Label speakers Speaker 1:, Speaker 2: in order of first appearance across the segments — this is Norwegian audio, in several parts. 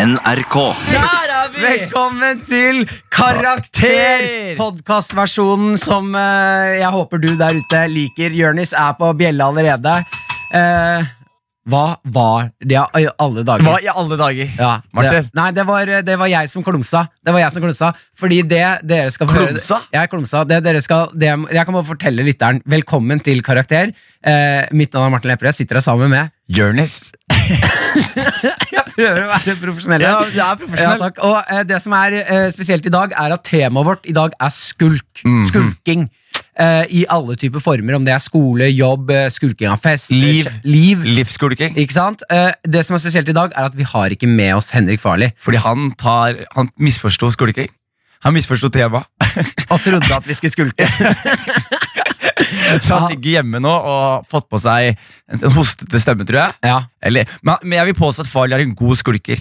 Speaker 1: NRK.
Speaker 2: Der er vi!
Speaker 3: Velkommen til Karakter! Podkastversjonen som eh, jeg håper du der ute liker. Jørnis er på bjella allerede. Eh, hva var det i alle dager?
Speaker 2: Hva i alle dager?
Speaker 3: Ja,
Speaker 2: Martin?
Speaker 3: Det, nei, det var, det var jeg som klumsa. Det var jeg som klumsa Fordi det dere skal få-
Speaker 2: Klumsa?
Speaker 3: Jeg klumsa. Det dere skal, det, jeg kan bare fortelle lytteren velkommen til Karakter. Eh, mitt navn er Martin Lepperød. Jeg sitter her sammen med
Speaker 2: Jonis.
Speaker 3: Jeg prøver å være profesjonell.
Speaker 2: Ja, det er
Speaker 3: Ja,
Speaker 2: profesjonell.
Speaker 3: takk. Og eh, det som er eh, spesielt i dag, er at temaet vårt i dag er skulk.
Speaker 2: Mhm.
Speaker 3: Skulking. Eh, I alle typer former, om det er skole, jobb, eh, skulking av fest
Speaker 2: Liv.
Speaker 3: eh, liv.
Speaker 2: Livsskulking.
Speaker 3: Ikke sant? Eh, det som er spesielt i dag, er at vi har ikke med oss Henrik Farley.
Speaker 2: Fordi han tar Han misforsto skulking. Han misforsto temaet.
Speaker 3: Og trodde at vi skulle skulke.
Speaker 2: Så
Speaker 3: Ja.
Speaker 2: han ligger hjemme nå og har fått på seg en, en hostete stemme, tror jeg.
Speaker 3: ja.
Speaker 2: Eller, men, men jeg vil påstå at Farley er en god skulker.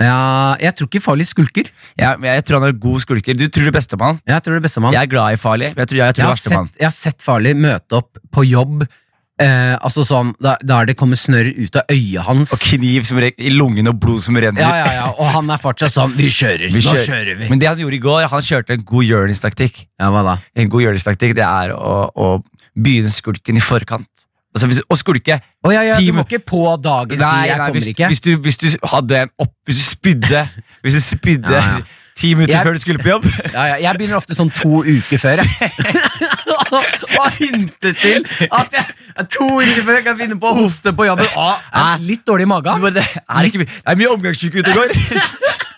Speaker 3: ja, jeg tror ikke Farley skulker.
Speaker 2: Jeg, men jeg tror han er en god skulker Du tror det beste om han.
Speaker 3: Jeg tror det beste om han.
Speaker 2: Jeg er glad i Farley, men jeg tror jeg, jeg tror
Speaker 3: Jeg
Speaker 2: det
Speaker 3: har,
Speaker 2: verste om han.
Speaker 3: sett, jeg har sett Farley møte opp på jobb. Eh, altså sånn, da- Der det kommer snørr ut av øyet hans.
Speaker 2: Og kniv som rek, i lungene og blod som renner.
Speaker 3: Ja, ja, ja, Og han er fortsatt sånn 'vi kjører',
Speaker 2: Vi
Speaker 3: nå
Speaker 2: kjører-
Speaker 3: kjører vi.
Speaker 2: Men det han gjorde i går, han kjørte en god Jonis-taktikk.
Speaker 3: Ja, hva da?
Speaker 2: En god gjøringstaktikk det er å, å begynne skulken i forkant. Altså, hvis, å skulke
Speaker 3: Å, ja, ja, du
Speaker 2: Team-
Speaker 3: må ikke på dagen si 'jeg kommer
Speaker 2: hvis,
Speaker 3: ikke'.
Speaker 2: hvis, du, hvis du hadde en opp Hvis du spydde Hvis du spydde
Speaker 3: Ja, ja.
Speaker 2: ti minutter
Speaker 3: Jeg-
Speaker 2: før du skulle på jobb
Speaker 3: Ja, ja, jeg begynner ofte sånn to uker før. Jeg. og og hintet til at jeg to uker før jeg kan finne på å hoste på jobben. Å, jeg er litt dårlig i
Speaker 2: Du
Speaker 3: magen.
Speaker 2: bare, det, er ikke, mye- det er mye omgangssyke ute og går.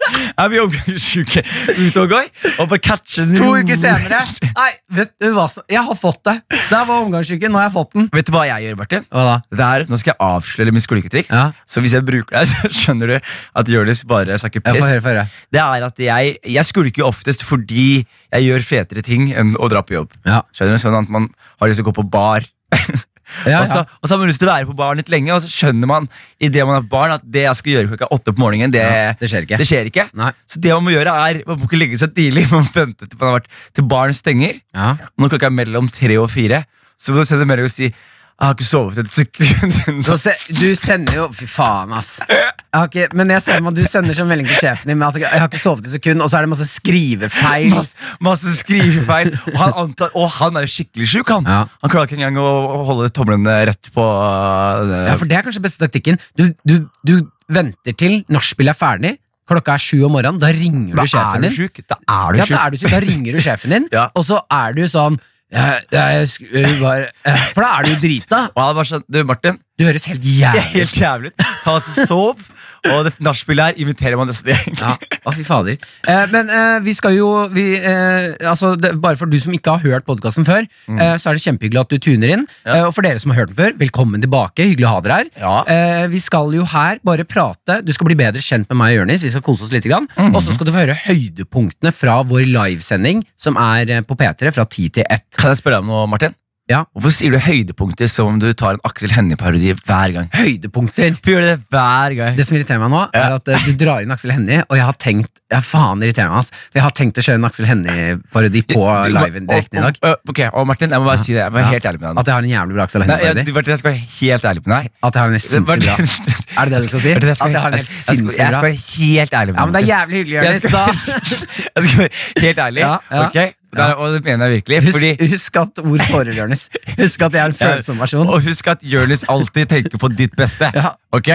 Speaker 2: Det er mye omgangssyke ute og går. Og bare catche den
Speaker 3: To uker senere. Nei, vet du hva som Jeg har fått det. Der var omgangssyken. Nå har jeg fått den.
Speaker 2: Vet du hva jeg gjør, Martin?
Speaker 3: Hva da?
Speaker 2: Det er, nå skal jeg avsløre mitt skulketriks.
Speaker 3: Ja.
Speaker 2: Så hvis jeg bruker det, så skjønner du at Jonis bare snakker
Speaker 3: Jeg får
Speaker 2: piss.
Speaker 3: høre, får høre.
Speaker 2: det er at jeg, jeg skulker jo oftest fordi jeg gjør fetere ting enn å dra på jobb.
Speaker 3: Ja.
Speaker 2: Skjønner du? Sånn at man har lyst til å gå på bar.
Speaker 3: Ja,
Speaker 2: Og, så,
Speaker 3: ja.
Speaker 2: og så har man lyst til å være på baren litt lenge, og så skjønner man i det man er barn at det jeg skal gjøre klokka åtte på morgenen, det,
Speaker 3: Det skjer ikke.
Speaker 2: det skjer ikke.
Speaker 3: Nei.
Speaker 2: Så det man må gjøre er, man må ikke legge seg tidlig, man må vente til man har vært til baren stenger.
Speaker 3: Ja.
Speaker 2: Når klokka er mellom tre og fire, så må du sende melding og si jeg har ikke sovet et sekund.
Speaker 3: Så se, du sender jo Fy faen, ass. Jeg har ikke, men jeg ser meg, du sender sånn melding til sjefen din med at jeg har ikke sovet et sekund, og så er det masse skrivefeil.
Speaker 2: Masse, masse skrivefeil. Og han, antar, og han er jo skikkelig sjuk, han.
Speaker 3: Ja.
Speaker 2: Han klarer ikke engang å å holde tomlene rett på øh,
Speaker 3: Ja, for det er kanskje beste taktikken. Du, du, du venter til nachspielet er ferdig, klokka er sju om morgenen, da ringer
Speaker 2: Da
Speaker 3: du
Speaker 2: er
Speaker 3: sjefen
Speaker 2: du
Speaker 3: din.
Speaker 2: sjuk. Da er du
Speaker 3: Ja,
Speaker 2: sjuk.
Speaker 3: da, er du, syk. da ringer du sjefen din,
Speaker 2: Ja.
Speaker 3: og så er du sånn eh, jeg sk- eh, var- eh, For da er du jo drita.
Speaker 2: Og han var sånn Du, Martin,
Speaker 3: Du høres helt
Speaker 2: det er
Speaker 3: jævlig ut.
Speaker 2: helt jævlig ut. Ta oss og sov. Og det nachspielet her inviterer man nesten gjeng.
Speaker 3: Ja, å, fy fader. Eh, men eh, vi skal jo vi, eh, altså, det, Bare for du som ikke har hørt podkasten før,
Speaker 2: Mm.
Speaker 3: eh, så er det kjempehyggelig at du tuner inn. Eh, og for dere som har hørt den før, velkommen tilbake. Hyggelig å ha dere her.
Speaker 2: Ja.
Speaker 3: Eh, vi skal jo her bare prate. Du skal bli bedre kjent med meg og Jonis. Vi skal kose oss litt. Grann.
Speaker 2: Mhm.
Speaker 3: Og så skal du få høre høydepunktene fra vår livesending, som er eh, på P3 fra 10 til 1.
Speaker 2: Kan jeg spørre deg om noe, Martin?
Speaker 3: Ja.
Speaker 2: Hvorfor sier du høydepunkter som om du tar en Aksel Hennie-parodi hver gang?
Speaker 3: Høydepunkter.
Speaker 2: Hvorfor gjør du det hver gang?
Speaker 3: Det som irriterer meg nå, er at eh, du drar inn Aksel Hennie, og jeg har tenkt ja, faen irriterer meg, ass. For jeg har tenkt å kjøre en Aksel Hennie-parodi på
Speaker 2: Du-
Speaker 3: liven direkten i dag.
Speaker 2: Å, å, Ok, og Martin, jeg må bare si det. Jeg må være
Speaker 3: Ja.
Speaker 2: helt ærlig med deg. nå.
Speaker 3: At jeg har en jævlig bra Aksel
Speaker 2: Nei, jeg,
Speaker 3: Hennie-parodi?
Speaker 2: du, Martin, jeg skal være helt ærlig med deg.
Speaker 3: At jeg har en
Speaker 2: Martin,
Speaker 3: sinnssykt bra Er det det du skal si?
Speaker 2: Martin, jeg
Speaker 3: At jeg har en
Speaker 2: jeg
Speaker 3: helt
Speaker 2: jeg skal- Jeg
Speaker 3: sinnssykt
Speaker 2: skal
Speaker 3: bra
Speaker 2: være helt ærlig med
Speaker 3: Ja, men det
Speaker 2: deg,
Speaker 3: er
Speaker 2: Martin.
Speaker 3: jævlig hyggelig,
Speaker 2: Jeg
Speaker 3: Jonis.
Speaker 2: skal, jeg skal være helt ærlig,
Speaker 3: Ja, ja.
Speaker 2: ok? Det er- og det mener jeg virkelig.
Speaker 3: Husk,
Speaker 2: fordi,
Speaker 3: husk at ord sårer, Jonis. Husk at jeg er en følsom person.
Speaker 2: og husk at Jonis alltid tenker på ditt beste.
Speaker 3: Ja.
Speaker 2: Ok?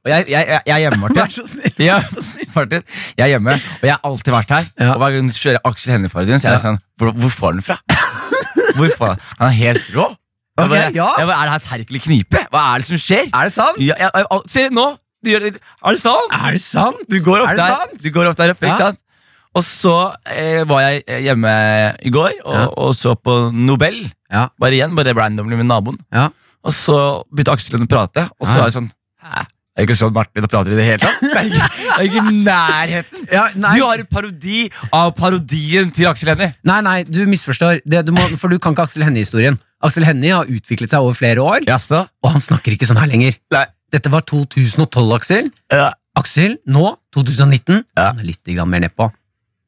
Speaker 2: Og jeg, jeg, jeg, jeg er hjemme, Martin.
Speaker 3: Vær så snill.
Speaker 2: Ja, Martin, jeg er hjemme, og jeg har alltid vært her.
Speaker 3: Ja.
Speaker 2: Og hver gang du kjører Aksel Hennie-parodien, så er jeg
Speaker 3: Ja.
Speaker 2: sånn Hvor, hvor får han den fra? Hvor får han? han er helt rå. Jeg
Speaker 3: Ok,
Speaker 2: bare,
Speaker 3: ja.
Speaker 2: jeg bare, er det her Terkel i knipe? Hva er det som skjer?
Speaker 3: Er det sant?
Speaker 2: Ja, jeg, jeg, al- se nå! Du gjør det, er det sant?
Speaker 3: Er det sant?
Speaker 2: Du går opp
Speaker 3: er det
Speaker 2: der,
Speaker 3: sant?
Speaker 2: du går opp der oppe,
Speaker 3: Ja.
Speaker 2: ikke sant? Og så eh, var jeg eh, hjemme i går og,
Speaker 3: Ja.
Speaker 2: og så på Nobel.
Speaker 3: Ja.
Speaker 2: Bare igjen, bare randomly med naboen.
Speaker 3: Ja.
Speaker 2: Og så begynte Aksel å prate, og så
Speaker 3: Ja.
Speaker 2: var jeg sånn Hæ? Det er ikke sånn Martin prater i det hele tatt. Det er ikke, det er ikke i nærheten.
Speaker 3: Ja, nei,
Speaker 2: Du har en parodi av parodien til Aksel Hennie.
Speaker 3: nei, nei, du misforstår. Det, du må, for du kan ikke Aksel Hennie-historien. Aksel Hennie har utviklet seg over flere år,
Speaker 2: Jaså?
Speaker 3: og han snakker ikke sånn her lenger.
Speaker 2: Nei.
Speaker 3: Dette var 2012, Aksel.
Speaker 2: Ja.
Speaker 3: Aksel, nå, 2019,
Speaker 2: Ja.
Speaker 3: han er litt grann mer nedpå.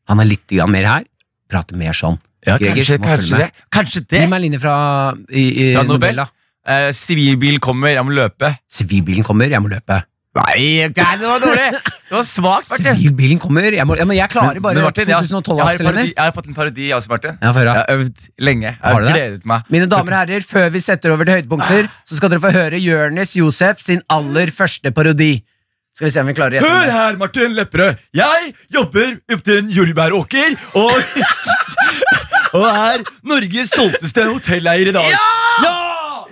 Speaker 3: Han er litt grann mer her. Prater mer sånn.
Speaker 2: Ja,
Speaker 3: Greger,
Speaker 2: kanskje,
Speaker 3: må følge
Speaker 2: kanskje det.
Speaker 3: med.
Speaker 2: Kanskje det.
Speaker 3: Gi meg en linje fra, i, i
Speaker 2: Fra Nobel?
Speaker 3: Nobel, da.
Speaker 2: Eh, sivilbil kommer, jeg må løpe.
Speaker 3: Sivilbilen kommer, jeg må løpe.
Speaker 4: Nei, ok, det var dårlig! Det var svakt, Martin.
Speaker 3: Sivilbilen kommer. Jeg, må, ja, men jeg klarer bare
Speaker 4: Men Martin, jeg- jeg, har en
Speaker 3: 2012-akselender.
Speaker 4: parodi- jeg har fått en parodi, jeg også, Martin.
Speaker 3: Ja, få høre.
Speaker 4: jeg har øvd lenge. Jeg
Speaker 3: Har
Speaker 4: har
Speaker 3: du det?
Speaker 4: gledet meg.
Speaker 3: Mine damer og herrer, før vi setter over til høydepunkter, så skal dere få høre Jørnis Josef sin aller første parodi. Skal vi se om vi klarer å gjette
Speaker 4: Hør
Speaker 3: den.
Speaker 4: her, Martin Lepperød. Jeg jobber ute i en jordbæråker og, og er Norges stolteste hotelleier i dag.
Speaker 3: Ja!
Speaker 4: Ja!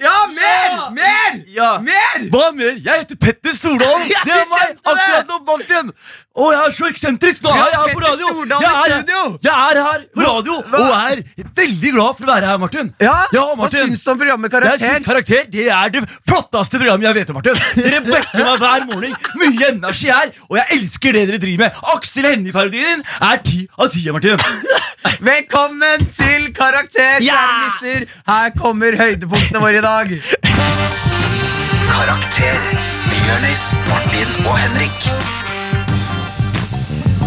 Speaker 3: Ja, mer! Mer!
Speaker 4: Ja!
Speaker 3: Mer!
Speaker 4: Hva mer? Jeg heter Petter Stordalen!
Speaker 3: Ja,
Speaker 4: Det er
Speaker 3: jeg
Speaker 4: meg!
Speaker 3: kjente det!
Speaker 4: Akkurat nå, Martin! Å, jeg er så eksentrisk! Nå
Speaker 3: Ja,
Speaker 4: er jeg her på
Speaker 3: Petter
Speaker 4: radio!
Speaker 3: Stordalen
Speaker 4: Jeg
Speaker 3: i
Speaker 4: er,
Speaker 3: studio!
Speaker 4: jeg er her på radio
Speaker 3: Hva?
Speaker 4: og er veldig glad for å være her, Martin.
Speaker 3: Ja, Hva
Speaker 4: Martin.
Speaker 3: syns du om programmet
Speaker 4: Jeg synes
Speaker 3: Karakter?
Speaker 4: karakter det er det flotteste programmet jeg vet om, Martin. Dere vekker meg hver morgen. Mye energi her, og jeg elsker det dere driver med. Aksel Hennie-parodien er ti av ti, Martin.
Speaker 3: Velkommen til Karakter,
Speaker 4: Ja!
Speaker 3: kjære lytter. Her kommer høydepunktene våre i dag.
Speaker 1: Karakter med Jonis, Martin og Henrik.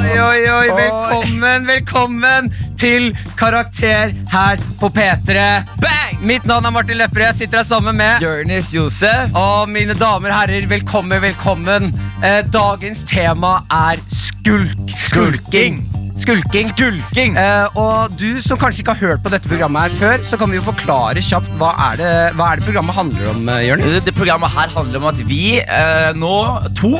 Speaker 3: Oi, oi, oi, velkommen, velkommen til Karakter her på P3. Bang! Mitt navn er Martin Lepperød. Jeg sitter her sammen med
Speaker 4: Jonis Josef.
Speaker 3: Og mine damer og herrer, velkommen, velkommen. Eh, dagens tema er skulk.
Speaker 4: Skulking.
Speaker 3: Skulking.
Speaker 4: Skulking.
Speaker 3: Eh, og du som kanskje ikke har hørt på dette programmet her før, så kan vi jo forklare kjapt hva er det, hva er det programmet handler om, eh, Jonis?
Speaker 2: Det, det programmet her handler om at vi eh, nå to,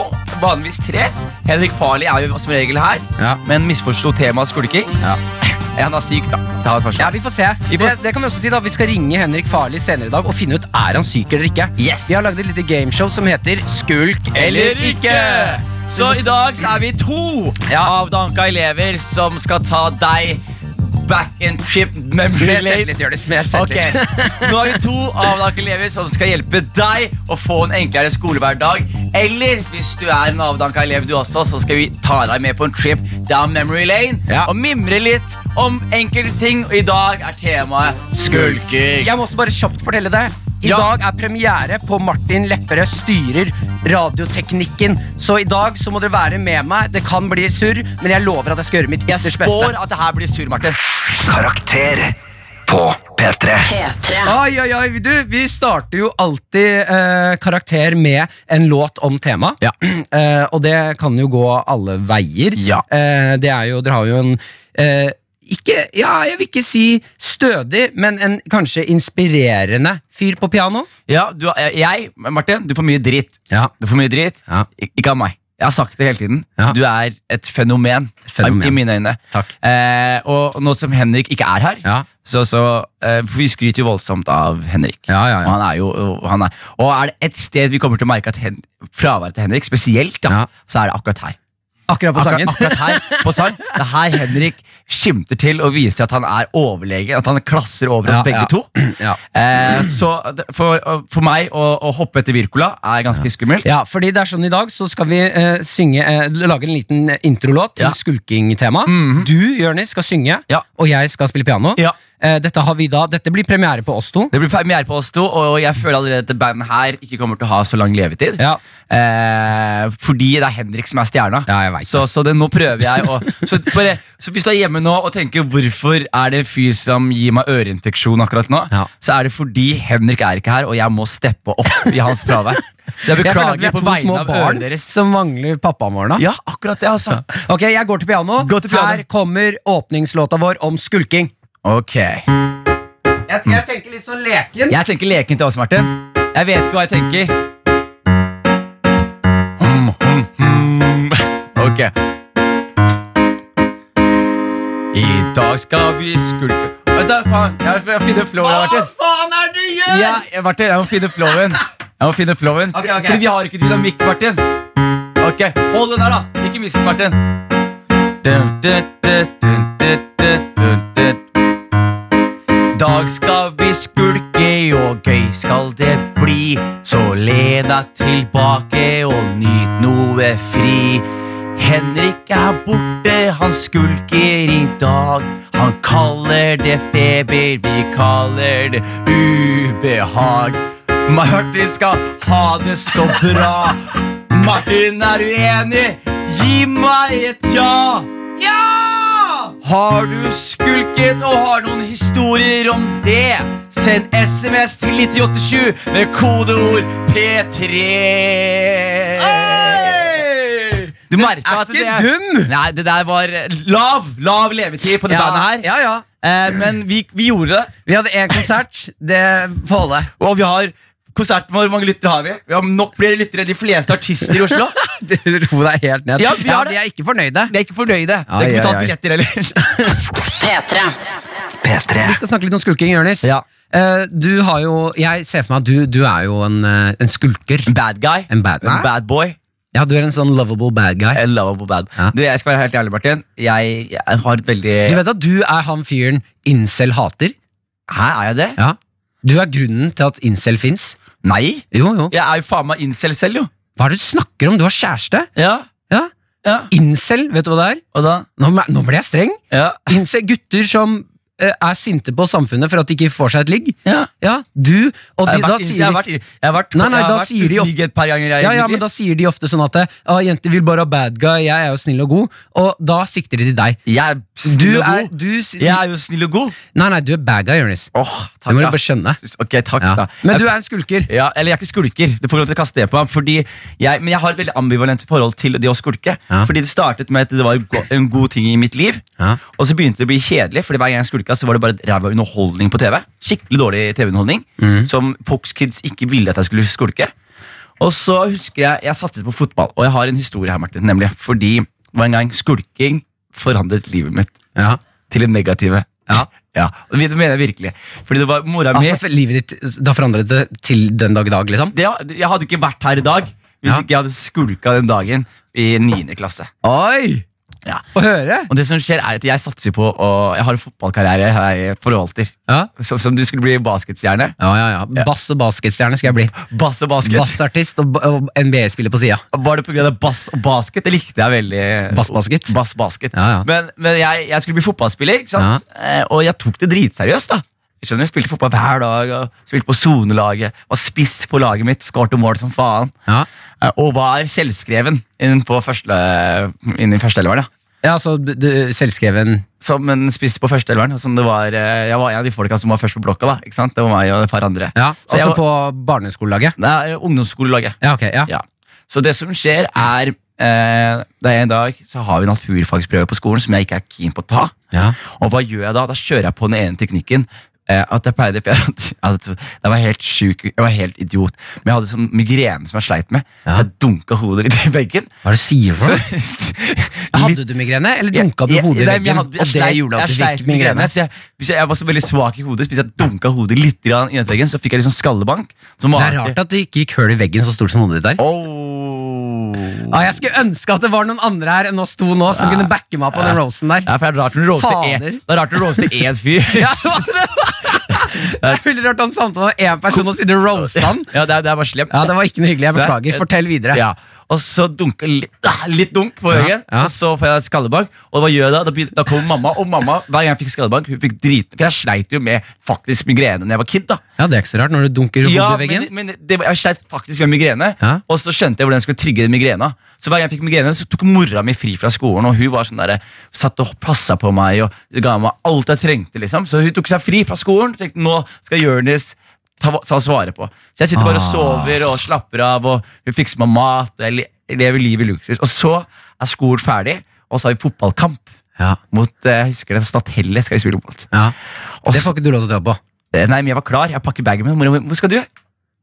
Speaker 2: vanligvis tre Henrik Farley er jo som regel her,
Speaker 3: Ja.
Speaker 2: men misforsto temaet skulking.
Speaker 3: Ja.
Speaker 2: Han er syk, da. Det er hans
Speaker 3: Ja,
Speaker 2: versjon.
Speaker 3: vi får se.
Speaker 2: Vi får
Speaker 3: det, det kan vi også si da Vi skal ringe Henrik Farli senere i dag og finne ut er han syk eller ikke.
Speaker 2: Yes.
Speaker 3: Vi har lagd et lite gameshow som heter Skulk eller ikke.
Speaker 2: Så i dag så er vi to
Speaker 3: Ja.
Speaker 2: avdanka elever som skal ta deg back and trip memory
Speaker 3: Mer
Speaker 2: lane.
Speaker 3: selvtillit, Jonis. Mer
Speaker 2: Ok,
Speaker 3: selvtillit.
Speaker 2: Nå er vi to avdanka elever som skal hjelpe deg å få en enklere skolehverdag. Eller hvis du er en avdanka elev, du også, så skal vi ta deg med på en trip down memory lane
Speaker 3: Ja.
Speaker 2: og mimre litt om enkelte ting. Og i dag er temaet skulking.
Speaker 3: Jeg må også bare kjapt fortelle det. I
Speaker 2: Ja.
Speaker 3: dag er premiere på Martin Lepperød styrer Radioteknikken. Så i dag så må dere være med meg. Det kan bli surr, men jeg lover at jeg skal gjøre mitt
Speaker 2: Jeg
Speaker 3: ytterst
Speaker 2: spår
Speaker 3: beste.
Speaker 2: at det her blir sur, Martin.
Speaker 1: Karakter på P3.
Speaker 5: P3.
Speaker 3: Oi, oi, oi, du, Vi starter jo alltid eh, karakter med en låt om tema.
Speaker 2: Ja.
Speaker 3: Eh, og det kan jo gå alle veier.
Speaker 2: Ja.
Speaker 3: Eh, det er jo, Dere har jo en eh, ikke, ja, Jeg vil ikke si stødig, men en kanskje inspirerende fyr på piano.
Speaker 2: Ja, du, jeg, Martin, du får mye dritt.
Speaker 3: Ja,
Speaker 2: Du får mye dritt.
Speaker 3: Ja.
Speaker 2: Ik- Ikke av meg. Jeg har sagt det hele tiden.
Speaker 3: Ja.
Speaker 2: Du er et fenomen,
Speaker 3: Fenomen.
Speaker 2: i mine øyne.
Speaker 3: Takk.
Speaker 2: Eh, og nå som Henrik ikke er her,
Speaker 3: Ja.
Speaker 2: så, så eh, For vi skryter jo voldsomt av Henrik.
Speaker 3: Ja, ja, ja.
Speaker 2: Og han er jo og han er, Og er det et sted vi kommer til å merke at hen, fraværet til Henrik, spesielt, da,
Speaker 3: Ja.
Speaker 2: så er det akkurat her.
Speaker 3: Akkurat på sangen.
Speaker 2: Akkurat, akkurat her på sang. Det er her Henrik skimter til og viser at han er overlegen. At han klasser over oss
Speaker 3: Ja,
Speaker 2: begge
Speaker 3: ja.
Speaker 2: to.
Speaker 3: Ja.
Speaker 2: Eh, så det- for, for meg å, å hoppe etter Wirkola er ganske skummelt.
Speaker 3: Ja, fordi det er sånn i dag så skal vi eh, synge, eh, lage en liten introlåt til
Speaker 2: Ja. Mhm.
Speaker 3: skulkingtema. Du, Jørnis, skal synge,
Speaker 2: Ja.
Speaker 3: og jeg skal spille piano.
Speaker 2: Ja.
Speaker 3: Eh, dette, har vi da, dette blir premiere på oss to.
Speaker 2: Det blir premiere på oss to, og jeg føler allerede at det bandet her ikke kommer til å ha så lang levetid.
Speaker 3: Ja.
Speaker 2: Eh, fordi det er Henrik som er stjerna.
Speaker 3: Ja, jeg vet
Speaker 2: så så det, nå prøver jeg å så, bare, så hvis du er hjemme nå og tenker hvorfor er det en fyr som gir meg øreinfeksjon akkurat nå,
Speaker 3: Ja.
Speaker 2: så er det fordi Henrik er ikke her, og jeg må steppe opp i hans fravær. Så jeg
Speaker 3: Jeg føler at
Speaker 2: beklager
Speaker 3: vi er to
Speaker 2: på
Speaker 3: små
Speaker 2: vegne av
Speaker 3: barn
Speaker 2: ørene deres.
Speaker 3: som mangler pappaen vår nå.
Speaker 2: Ja, akkurat det, altså.
Speaker 3: Ok, jeg går til piano.
Speaker 2: Gå til piano.
Speaker 3: Her kommer åpningslåta vår om skulking.
Speaker 2: Ok.
Speaker 3: Jeg, tenker litt sånn leken.
Speaker 2: Jeg tenker lekent til oss, Martin. Jeg vet ikke hva jeg tenker. Mm, mm, mm. Ok. I dag skal vi skulke Vent da, faen. Jeg må finne flowen, Martin.
Speaker 3: faen er det du gjør?!
Speaker 2: Ja, jeg- Martin, jeg må finne flowen. Jeg må finne flowen.
Speaker 3: Ok, ok.
Speaker 2: Fordi vi har ikke dynamikk, Martin. Ok, Hold den der, da. Ikke mist den, Martin. Dun, dun, dun, dun, dun, dun, dun, dun. dag skal vi skulke, og gøy skal det bli. Så le deg tilbake og nyt noe fri. Henrik er borte, han skulker i dag. Han kaller det feber, vi kaller det ubehag. Martin skal ha det så bra. Martin er uenig, gi meg et ja. Ja! Har du skulket og har noen historier om det? Send SMS til 9087 med kodeord P3. Du merka at
Speaker 3: ikke
Speaker 2: det
Speaker 3: dum!
Speaker 2: Nei, det der var lav lav levetid på det bandet her.
Speaker 3: ja, ja.
Speaker 2: Eh, men vi, vi gjorde det.
Speaker 3: Vi hadde én konsert. Det får holde.
Speaker 2: Og vi har konsert med hvor mange lyttere har vi? Vi har nok flere lyttere enn de fleste artister i Oslo.
Speaker 3: Du, Ro deg helt ned.
Speaker 2: Ja, vi har
Speaker 3: De
Speaker 2: det.
Speaker 3: er ikke fornøyde.
Speaker 2: De er ikke fornøyde. De har
Speaker 3: Ai,
Speaker 2: ikke betalt
Speaker 3: ai, ai.
Speaker 2: billetter heller.
Speaker 5: P3.
Speaker 1: P3.
Speaker 3: Vi skal snakke litt om skulking, Jonis.
Speaker 2: Ja.
Speaker 3: Eh, du har jo Jeg ser for meg at du, du er jo en, eh, en skulker.
Speaker 2: Bad guy.
Speaker 3: En bad,
Speaker 2: En bad Eh, boy.
Speaker 3: Ja, du er en sånn lovable bad guy.
Speaker 2: I love a bad.
Speaker 3: Ja.
Speaker 2: Du, jeg skal være helt ærlig, Martin. Jeg, jeg har et veldig
Speaker 3: Du vet at du er han fyren incel hater?
Speaker 2: Hæ, er jeg det?
Speaker 3: Ja. Du er grunnen til at incel fins.
Speaker 2: Nei.
Speaker 3: Jo, jo.
Speaker 2: Jeg er jo faen meg incel selv, jo.
Speaker 3: Hva er det du snakker om? Du har kjæreste?
Speaker 2: Ja,
Speaker 3: Ja.
Speaker 2: ja.
Speaker 3: Incel, vet du hva det er?
Speaker 2: Og da?
Speaker 3: Nå, ble- nå ble jeg streng.
Speaker 2: Ja.
Speaker 3: Incel, gutter som eh, er sinte på samfunnet for at de ikke får seg et ligg.
Speaker 2: ja.
Speaker 3: Ja, du og de,
Speaker 2: Jeg har
Speaker 3: da
Speaker 2: vært,
Speaker 3: sier
Speaker 2: jeg har
Speaker 3: de,
Speaker 2: vært, jeg har vært,
Speaker 3: Nei, nei,
Speaker 2: jeg har
Speaker 3: da
Speaker 2: vært
Speaker 3: sier de
Speaker 2: uten
Speaker 3: ofte-
Speaker 2: ligg et par ganger. Jeg,
Speaker 3: ja, ja,
Speaker 2: egentlig.
Speaker 3: men da sier de ofte sånn at ah, 'Jenter vil bare ha bad guy, jeg er jo snill og god', og da sikter de til deg.
Speaker 2: jeg er
Speaker 3: Du
Speaker 2: snill og
Speaker 3: er,
Speaker 2: god.
Speaker 3: du, s-
Speaker 2: Jeg er jo snill og god.
Speaker 3: Nei, nei, du er bad guy, Jonis.
Speaker 2: Åh,
Speaker 3: Det
Speaker 2: takk,
Speaker 3: må du
Speaker 2: ja.
Speaker 3: bare skjønne.
Speaker 2: Ok, takk,
Speaker 3: Ja.
Speaker 2: da.
Speaker 3: Men du
Speaker 2: Jeg-
Speaker 3: er en skulker.
Speaker 2: Ja, eller jeg er ikke skulker. Du får lov til å kaste det på ham. Fordi jeg, men jeg har et veldig ambivalent forhold til det å skulke.
Speaker 3: Ja.
Speaker 2: Fordi det startet med at det var go en god ting i mitt liv.
Speaker 3: Ja.
Speaker 2: Og så begynte det å bli kjedelig, Fordi hver gang jeg skulka, så var det bare ræva underholdning på TV. Skikkelig dårlig TV-underholdning
Speaker 3: Mm.
Speaker 2: Som Pox Kids ikke ville at jeg skulle skulke. Og så husker jeg jeg satset på fotball, og jeg har en historie her, Martin. Nemlig fordi det var en gang skulking forandret livet mitt
Speaker 3: Ja.
Speaker 2: til det negative.
Speaker 3: Ja.
Speaker 2: Ja, og Det mener jeg virkelig. Fordi det var mora mi
Speaker 3: Altså, for livet ditt da forandret det til den dag i dag, liksom?
Speaker 2: det, Jeg hadde ikke vært her i dag hvis
Speaker 3: Ja.
Speaker 2: ikke jeg hadde skulka den dagen i 9. klasse.
Speaker 3: Oi!
Speaker 2: Ja.
Speaker 3: Få høre!
Speaker 2: Og det som skjer er at Jeg satser på og Jeg har en fotballkarriere jeg forvalter.
Speaker 3: Ja,
Speaker 2: Som, som du skulle bli basketstjerne.
Speaker 3: ja, ja. ja. Bass og basketstjerne skal jeg bli.
Speaker 2: Bass og basket.
Speaker 3: Bassartist og, ba- og NBA-spiller på sida.
Speaker 2: Var det pga. bass og basket? Det likte jeg veldig.
Speaker 3: Bassbasket.
Speaker 2: Bass basket.
Speaker 3: Ja, ja.
Speaker 2: Men, men jeg, jeg skulle bli fotballspiller, ikke sant? Eh, og jeg tok det dritseriøst. da Skjønner du, Jeg spilte fotball hver dag, og spilte på sonelaget. Var spiss på laget mitt, skårte mål som faen.
Speaker 3: Ja.
Speaker 2: Eh, og var selvskreven inn, på første, inn i førsteeleveren. Ja.
Speaker 3: ja, så du, du selvskreven
Speaker 2: Som en spiss på førsteelveren. og Som det var, eh, jeg var en av de folka som var først på blokka. da ikke sant? Det var meg og et par andre.
Speaker 3: Ja,
Speaker 2: Så jeg
Speaker 3: Altså
Speaker 2: var-
Speaker 3: på barneskolelaget?
Speaker 2: Nei, ungdomsskolelaget.
Speaker 3: Ja, ok. Ja.
Speaker 2: Ja. Så det som skjer er eh, Det er en dag så har vi naturfagsprøve på skolen som jeg ikke er keen på å ta.
Speaker 3: Ja.
Speaker 2: Og hva gjør jeg da? Da kjører jeg på den ene teknikken. Eh, at jeg pleide at Jeg var helt sjuk, jeg var helt idiot. Men jeg hadde sånn migrene som jeg sleit med.
Speaker 3: Ja.
Speaker 2: Så jeg dunka hodet litt i veggen.
Speaker 3: Hva er det du sier for noe?
Speaker 2: Litt-
Speaker 3: Hadde du migrene, eller dunka du
Speaker 2: Jeg- jeg-
Speaker 3: hodet i
Speaker 2: nei, men jeg
Speaker 3: veggen?
Speaker 2: hadde- jeg
Speaker 3: Og det
Speaker 2: sleit-
Speaker 3: gjorde at
Speaker 2: jeg
Speaker 3: du
Speaker 2: sleit
Speaker 3: fikk
Speaker 2: med
Speaker 3: migrene?
Speaker 2: så jeg, hvis jeg, jeg var så veldig svak i hodet, så hvis jeg dunka hodet litt grann i veggen, så fikk jeg litt sånn skallebank. Som
Speaker 3: Det er rart at det ikke gikk hull i veggen så stort som hodet ditt der. Ja, jeg skulle ønske at det var noen andre her enn oss to nå som kunne backe meg på den rosen der.
Speaker 2: Ja, for det er rart når du roaster en-
Speaker 3: Fader.
Speaker 2: det er rart når du roaster én fyr.
Speaker 3: Ja, det var- det er veldig rart å ha en samtale med én person og sitte og roaste han.
Speaker 2: Ja, det, er, det er bare slemt.
Speaker 3: Ja, det var ikke noe hyggelig. Jeg beklager.
Speaker 2: Nei.
Speaker 3: Fortell videre.
Speaker 2: Ja. Og så dunker litt, ah, litt dunk på
Speaker 3: Ja,
Speaker 2: øyet,
Speaker 3: ja.
Speaker 2: og så får jeg skallebank. Og hva gjør jeg da? Da, begynner, da kommer mamma, og mamma hver gang jeg fikk skallebank, hun fikk drit For jeg sleit jo med faktisk migrene Når jeg var kid. da
Speaker 3: Ja, det er ikke så rart når du dunker hodet
Speaker 2: Ja,
Speaker 3: i veggen.
Speaker 2: men, men det, var- jeg sleit faktisk med migrene.
Speaker 3: Ja.
Speaker 2: Og så skjønte jeg hvordan jeg skulle trigge den migrena. Så hver gang jeg fikk migrene, så tok mora mi fri fra skolen, og hun var sånn der, satt og passa på meg og ga meg alt jeg trengte. liksom Så hun tok seg fri fra skolen. tenkte nå skal Jonis ta, ta svare på. Så jeg sitter bare og
Speaker 3: Ah.
Speaker 2: sover og slapper av, og hun fikser meg mat, og jeg le- lever livet i luksus. Og så er skolen ferdig, og så har vi fotballkamp
Speaker 3: Ja,
Speaker 2: mot eh, jeg husker det, Stathelle skal vi spille mot.
Speaker 3: ja.
Speaker 2: Og
Speaker 3: Det får ikke du lov til å dra på.
Speaker 2: Eh, Nei, men jeg var klar. Jeg pakker bagen min. Mora mi, Hvor skal du? Jeg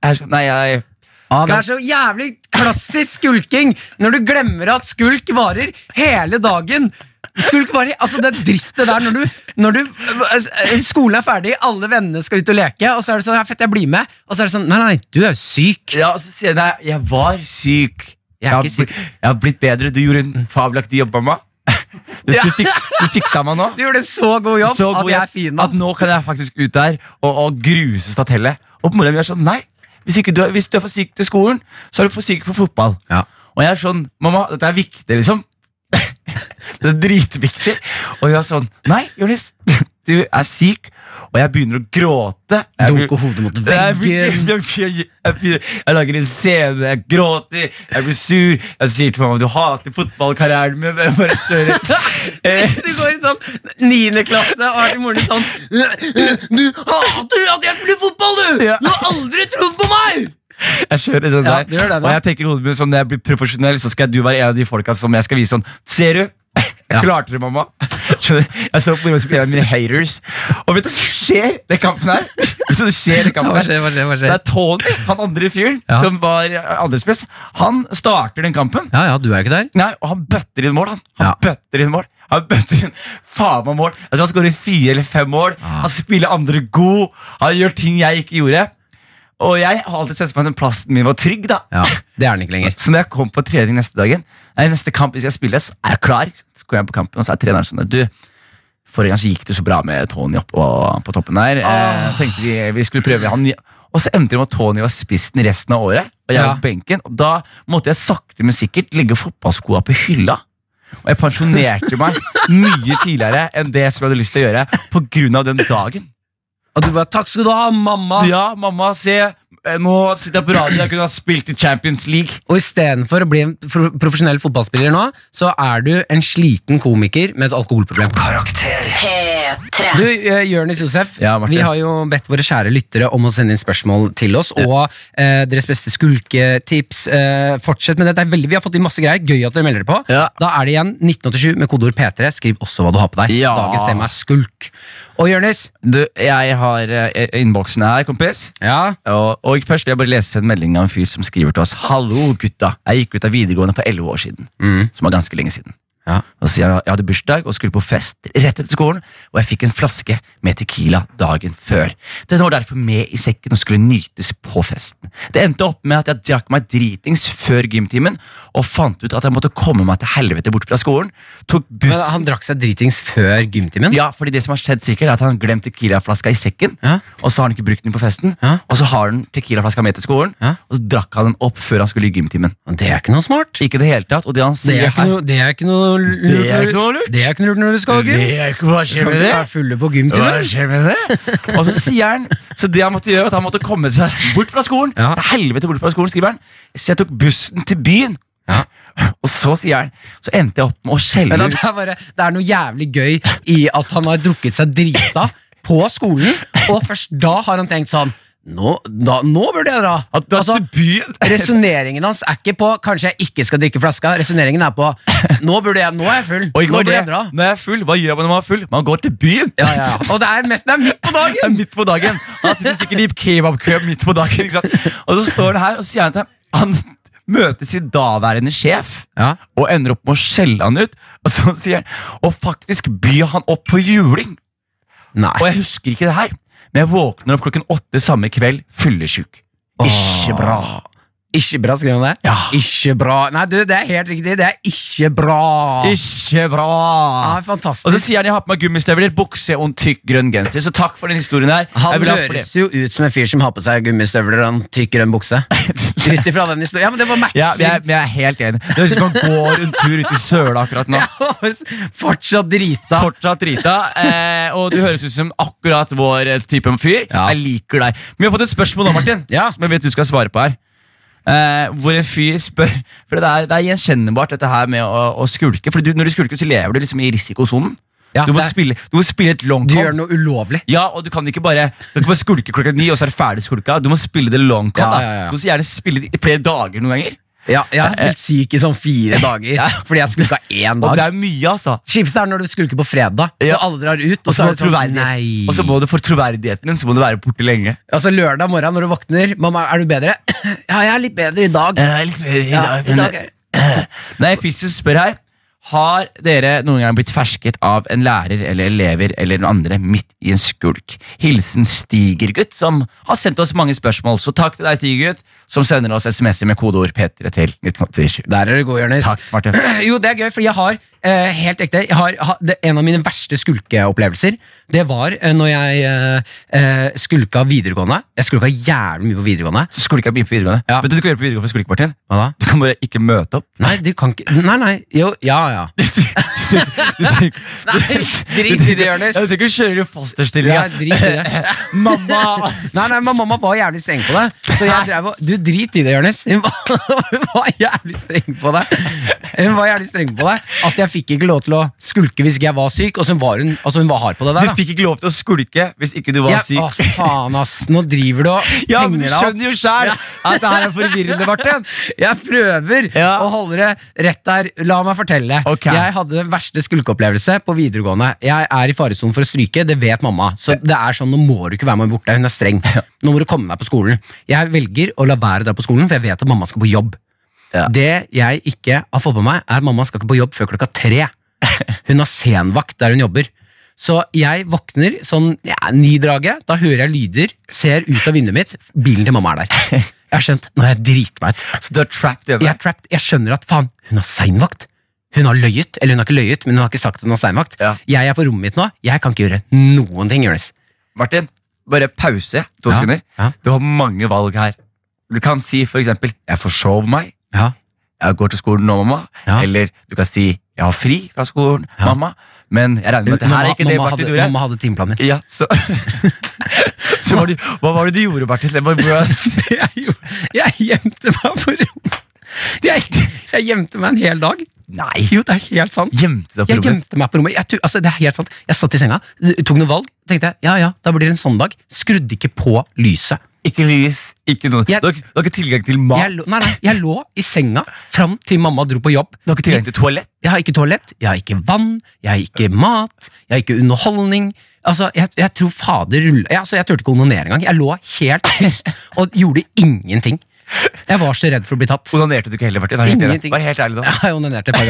Speaker 2: er sånn, nei, jeg
Speaker 3: Ja, det er så jævlig klassisk skulking når du glemmer at skulk varer hele dagen. Skulk varer, altså Det drittet der når du, når du Skolen er ferdig, alle vennene skal ut og leke, og så er det sånn ja, 'Fett, jeg blir med.' Og så er det sånn 'Nei, nei, du er jo syk'.
Speaker 2: Ja, og så sier jeg nei, jeg var syk.
Speaker 3: Jeg er
Speaker 2: har
Speaker 3: ikke syk.
Speaker 2: bli- Jeg har blitt bedre. Du gjorde en fabelaktig jobb, mamma. Du,
Speaker 3: Ja.
Speaker 2: du, fik, du fiksa meg nå.
Speaker 3: Du gjorde en så god jobb
Speaker 2: Så
Speaker 3: at
Speaker 2: god
Speaker 3: jeg
Speaker 2: jobb
Speaker 3: er fin nå.
Speaker 2: At nå kan jeg faktisk ut der og, og gruse Stathelle. Og mora mi er sånn, nei. Hvis, ikke du, er- hvis du er for syk til skolen, så er du for syk for fotball.
Speaker 3: Ja.
Speaker 2: Og jeg er sånn, mamma, dette er viktig, liksom. det er dritviktig. Og hun er sånn, nei, Jonis, du er syk. Og jeg begynner å gråte. Jeg
Speaker 3: Dunke
Speaker 2: blir-
Speaker 3: hodet mot
Speaker 2: Jeg blir-
Speaker 3: veggen.
Speaker 2: Jeg, blir- jeg, blir- jeg lager en scene, jeg gråter, jeg blir sur. Jeg sier til mamma du hater fotballkarrieren min. Jeg bare større. Eh,
Speaker 3: Du går i sånn niende klasse og har til moren din sånn Du hater at jeg spiller fotball, du! Du har aldri trodd på meg!
Speaker 2: Jeg kjører den
Speaker 3: Ja,
Speaker 2: der.
Speaker 3: du gjør det, da.
Speaker 2: og jeg tenker i hodet mitt sånn, når jeg blir profesjonell, så skal du være en av de folka som jeg skal vise sånn Ser du? Klarte du, mamma? Skjønner du? Jeg så på moroa som en av mine haters. Og vet du hva som skjer i kampen her? Vet du hva som skjer i kampen
Speaker 3: Hva
Speaker 2: her?
Speaker 3: skjer, hva skjer,
Speaker 2: Det
Speaker 3: hva skjer?
Speaker 2: er Tony, han andre fyren,
Speaker 3: Ja.
Speaker 2: som var andrespiss. Han starter den kampen.
Speaker 3: Ja, ja, du er jo ikke der.
Speaker 2: Nei, og han bøtter inn mål, han. Han
Speaker 3: Ja.
Speaker 2: bøtter inn mål. Han bøtter inn faen meg mål. Jeg tror han skårer fire eller fem mål. Han spiller andre god. Han gjør ting jeg ikke gjorde. Og jeg har alltid sett for meg at den plassen min var trygg, da.
Speaker 3: Ja, Det er den ikke lenger.
Speaker 2: Så når jeg kom på trening neste dagen Nei, neste kamp hvis jeg spiller, så er jeg klar. ikke sant? Så går jeg på kampen, og så er treneren sånn Du, forrige gang så gikk det så bra med Tony opp på, på toppen der. Eh, tenkte vi, vi skulle prøve han Og så endte det med at Tony var spissen resten av året. Og jeg
Speaker 3: Ja.
Speaker 2: var på benken Og da måtte jeg sakte, men sikkert legge fotballskoa på hylla. Og jeg pensjonerte meg mye tidligere enn det som jeg hadde lyst til å gjøre. På grunn av den dagen
Speaker 3: Og du bare 'takk skal du ha, mamma'.
Speaker 2: Ja, mamma, se. eh, Nå sitter jeg på radio. Jeg kunne ha spilt i Champions League.
Speaker 3: Og istedenfor å bli en pro- profesjonell fotballspiller nå, så er du en sliten komiker med et alkoholproblem.
Speaker 1: Karakter.
Speaker 5: P3.
Speaker 3: Du, eh, Jørnis Josef,
Speaker 2: Ja, Martin.
Speaker 3: vi har jo bedt våre kjære lyttere om å sende inn spørsmål til oss. Og eh, deres beste skulketips. Eh, fortsett med det. det er veldig, vi har fått inn masse greier. Gøy at dere melder dere på.
Speaker 2: Ja.
Speaker 3: Da er det igjen 1987 med kodeord P3. Skriv også hva du har på deg.
Speaker 2: Ja.
Speaker 3: Dagens tema er skulk. Og Jørnis,
Speaker 2: Du, jeg har eh, innboksen her, kompis.
Speaker 3: ja,
Speaker 2: Og, og først vil jeg bare lese en melding av en fyr som skriver til oss. Hallo, gutta. Jeg gikk ut av videregående for 11 år siden.
Speaker 3: Mm.
Speaker 2: Som var ganske lenge siden.
Speaker 3: Ja.
Speaker 2: Og så sier han jeg hadde bursdag og skulle på fest rett etter skolen, og jeg fikk en flaske med tequila dagen før. Den var derfor med i sekken og skulle nytes på festen. Det endte opp med at jeg drakk meg dritings før gymtimen og fant ut at jeg måtte komme meg til helvete bort fra skolen. Tok
Speaker 3: men
Speaker 2: buss
Speaker 3: han drakk seg dritings før gymtimen.
Speaker 2: ja, fordi det som har skjedd sikkert er at Han har glemt tequilaflaska i sekken,
Speaker 3: Ja.
Speaker 2: og så har han ikke brukt den på festen.
Speaker 3: Ja.
Speaker 2: Og så har han tequilaflaska med til skolen,
Speaker 3: Ja.
Speaker 2: og så drakk han den opp før han skulle i gymtimen.
Speaker 3: Det er ikke noe smart.
Speaker 2: Ikke det hele tatt, og det han
Speaker 3: Det
Speaker 2: sier
Speaker 3: er ikke
Speaker 2: her
Speaker 3: noe, det er ikke noe lurt.
Speaker 2: Det er ikke noe lurt.
Speaker 3: Det er ikke noe lurt når du skal ha gym.
Speaker 2: Det er ikke- Hva skjer
Speaker 3: Kan
Speaker 2: med
Speaker 3: du
Speaker 2: det?
Speaker 3: være fulle på gymtimen?
Speaker 2: skjer med det? Og så sier han Så det han måtte gjøre, var at han måtte komme seg bort fra skolen.
Speaker 3: Ja.
Speaker 2: Til helvete bort fra skolen, skriver han. Så jeg tok bussen til byen.
Speaker 3: Ja.
Speaker 2: Og så sier han Så endte jeg opp med å skjelle
Speaker 3: Men
Speaker 2: ut
Speaker 3: at det, er bare, det er noe jævlig gøy i at han har drukket seg drita på skolen, og først da har han tenkt sånn Nå, da, nå burde jeg dra.
Speaker 2: at du
Speaker 3: Altså,
Speaker 2: til byen
Speaker 3: Resonneringen hans er ikke på 'kanskje jeg ikke skal drikke flaska'. Resonneringen er på 'nå, burde jeg, nå er jeg full'.
Speaker 2: Og ikke
Speaker 3: nå
Speaker 2: bare
Speaker 3: burde
Speaker 2: det,
Speaker 3: jeg dra.
Speaker 2: når jeg er full, hva gjør man når man er full? Man går til byen!
Speaker 3: Ja, ja. Og det er mest det er midt på dagen!
Speaker 2: Det er midt på dagen. Han sitter sikkert i kebabkø midt på dagen. Ikke sant? Og så står han her og sier han til ham Han møter sin daværende sjef
Speaker 3: Ja.
Speaker 2: og ender opp med å skjelle han ut. Og så sier han Og faktisk byr han opp på juling. Og
Speaker 3: Nei.
Speaker 2: jeg husker ikke det her, men jeg våkner opp klokken åtte samme kveld fyllesjuk. Ikke bra.
Speaker 3: Ikke bra, skrev han det?
Speaker 2: Ja.
Speaker 3: Ikke bra. Nei, du, det er helt riktig. Det er ikke bra.
Speaker 2: Ikke bra.
Speaker 3: Ja,
Speaker 2: Og så
Speaker 3: fantastisk.
Speaker 2: sier han jeg har på meg gummistøvler, bukse og en tykk grønn genser. Så takk for den historien her. Jeg
Speaker 3: Han
Speaker 2: vil ha for det.
Speaker 3: høres jo ut som en fyr som har på seg gummistøvler og en tykk grønn bukse. Ut ifra den historien. Ja, men det var matcher.
Speaker 2: Ja, men jeg, men jeg er helt enig. Det høres ut som han går en tur ut i søla akkurat nå.
Speaker 3: Fortsatt drita.
Speaker 2: Fortsatt drita, eh, og du høres ut som akkurat vår eh, type fyr.
Speaker 3: Ja.
Speaker 2: Jeg liker deg. Men vi har fått et spørsmål nå, Martin,
Speaker 3: Ja.
Speaker 2: som jeg vet du skal svare på her. Eh, hvor en fyr spør For det er, det er gjenkjennbart, dette her med å, å skulke. For du, når du skulker, så lever du liksom i risikosonen.
Speaker 3: Ja,
Speaker 2: du, må
Speaker 3: det er-
Speaker 2: spille, du må spille et long
Speaker 3: du
Speaker 2: con.
Speaker 3: gjør noe ulovlig.
Speaker 2: Ja, og du kan ikke bare, du kan ikke bare skulke klokka ni, og så er det ferdig skulka. Du må spille det long con.
Speaker 3: Ja,
Speaker 2: da.
Speaker 3: ja, ja.
Speaker 2: Du må så gjerne spille det i flere dager noen ganger.
Speaker 3: Ja, jeg har spilt syk i sånn fire dager fordi jeg skulka én
Speaker 2: Og det
Speaker 3: dag.
Speaker 2: er mye, altså.
Speaker 3: Kjipeste er når du skulker på fredag,
Speaker 2: Ja.
Speaker 3: og alle drar ut.
Speaker 2: Og
Speaker 3: Og,
Speaker 2: så
Speaker 3: så
Speaker 2: må
Speaker 3: er det sånn,
Speaker 2: troverdighet-
Speaker 3: nei
Speaker 2: Og så må du for troverdigheten din, så må du være borte lenge.
Speaker 3: Altså Lørdag morgen når du våkner. 'Mamma, er du bedre?' 'Ja, jeg er litt bedre i dag'.
Speaker 2: Eh,
Speaker 3: Ja, i dag er-
Speaker 2: Nei, Fistus spør her Har dere noen gang blitt fersket av en lærer eller elever eller noen andre midt i en skulk? Hilsen Stigergutt, som har sendt oss mange spørsmål. Så takk til deg, Stigergutt, som sender oss SMS-er med kodeord P3 til 1987.
Speaker 3: Der er du god, Jonis.
Speaker 2: Takk, Martin.
Speaker 3: Jo, det er gøy, fordi jeg har eh, helt ekte jeg har, ha- det, En av mine verste skulkeopplevelser Det var eh, når jeg eh, eh, skulka videregående. Jeg skulka jævlig mye på videregående.
Speaker 2: Så skulka jeg på videregående.
Speaker 3: Ja.
Speaker 2: Vet du hva du kan gjøre på videregående for skulkepartien?
Speaker 3: Hva da?
Speaker 2: Du kan bare ikke møte opp.
Speaker 3: Nei, du kan ikke Nei, nei. Jo, ja, ja.
Speaker 2: Du trenger-
Speaker 3: Nei, drit i det, Jonis.
Speaker 2: Jeg trenger ikke kjøre i fosterstilling.
Speaker 3: Ja, drit i det.
Speaker 2: Mamma!
Speaker 3: Nei, nei, men Mamma var jævlig streng på deg. Så jeg drev og, Du, drit i det, Jonis. Hun, var- hun var jævlig streng på deg. Hun var jævlig streng på deg At jeg fikk ikke lov til å skulke hvis ikke jeg var syk. Og så var hun, altså hun var hard på det der.
Speaker 2: Du
Speaker 3: da
Speaker 2: fikk ikke lov til å skulke hvis ikke du var
Speaker 3: Jeg- Å,
Speaker 2: syk.
Speaker 3: faen, ass. Nå driver du og
Speaker 2: Ja, men
Speaker 3: henger
Speaker 2: du
Speaker 3: deg opp.
Speaker 2: skjønner jo sjæl at det her er forvirrende, Martin.
Speaker 3: Jeg prøver
Speaker 2: Ja.
Speaker 3: å holde det rett der. La meg fortelle.
Speaker 2: Ok.
Speaker 3: Jeg hadde den verste skulkeopplevelse på videregående. Jeg er i faresonen for å stryke, det vet mamma. Så det er sånn, Nå må du ikke være med borte. Hun er streng. Nå må du komme deg på skolen. Jeg velger å la være å dra på skolen, for jeg vet at mamma skal på jobb.
Speaker 2: Ja.
Speaker 3: Det jeg ikke har fått med meg, er at mamma skal ikke på jobb før klokka tre. Hun har senvakt der hun jobber. Så jeg våkner sånn ja, ni-draget, da hører jeg lyder, ser ut av vinduet mitt, bilen til mamma er der. Jeg har skjønt, nå har jeg driti meg ut.
Speaker 2: Så du er trapped
Speaker 3: Jeg
Speaker 2: hjemme.
Speaker 3: er trapped. Jeg skjønner at faen, hun har seinvakt. Hun har løyet, eller hun har ikke løyet, men hun har ikke sagt at hun har seinvakt.
Speaker 2: Ja.
Speaker 3: Jeg er på rommet mitt nå. Jeg kan ikke gjøre noen ting, Jonis.
Speaker 2: Martin, bare pause to
Speaker 3: Ja,
Speaker 2: sekunder.
Speaker 3: ja.
Speaker 2: Du har mange valg her. Du kan si for eksempel 'jeg forsov meg',
Speaker 3: Ja.
Speaker 2: 'jeg går til skolen nå, mamma'.
Speaker 3: Ja.
Speaker 2: Eller du kan si 'jeg har fri fra skolen,
Speaker 3: Ja.
Speaker 2: mamma'. Men jeg regner med at det her er ikke det
Speaker 3: mamma,
Speaker 2: Martin
Speaker 3: hadde,
Speaker 2: gjorde.
Speaker 3: mamma hadde timeplaner.
Speaker 2: Ja, så, så var det, Hva var det du gjorde, Martin? Det var- hvordan-
Speaker 3: Jeg gjemte meg på rommet. Jeg, jeg gjemte meg en hel dag. Nei. Jo, det er helt sant.
Speaker 2: Gjemte du deg på
Speaker 3: Jeg
Speaker 2: rommet?
Speaker 3: gjemte meg på rommet. Jeg, tu- altså, det er helt sant. Jeg satt i senga, tok noen valg, tenkte jeg, ja ja, da blir det en sånn dag. Skrudde ikke på lyset.
Speaker 2: Ikke lys, ikke noe.
Speaker 3: Jeg-
Speaker 2: du, har, ikke- du har ikke tilgang til mat,
Speaker 3: Jeg lå, nei, nei, jeg lå i senga fram til mamma dro på jobb.
Speaker 2: du har ikke tilgang til toalett.
Speaker 3: Jeg har ikke toalett, jeg har ikke vann, jeg har ikke mat, jeg har ikke underholdning. Altså, jeg, jeg tror fader rulla jeg, altså, jeg turte ikke å onanere engang. Jeg lå helt tyst og gjorde ingenting. Jeg var så redd for å bli tatt.
Speaker 2: Onanerte du ikke heller, Martin? Vær helt ærlig,
Speaker 3: Ingenting.
Speaker 2: Vær helt ærlig da.
Speaker 3: Ja, jeg onanerte et par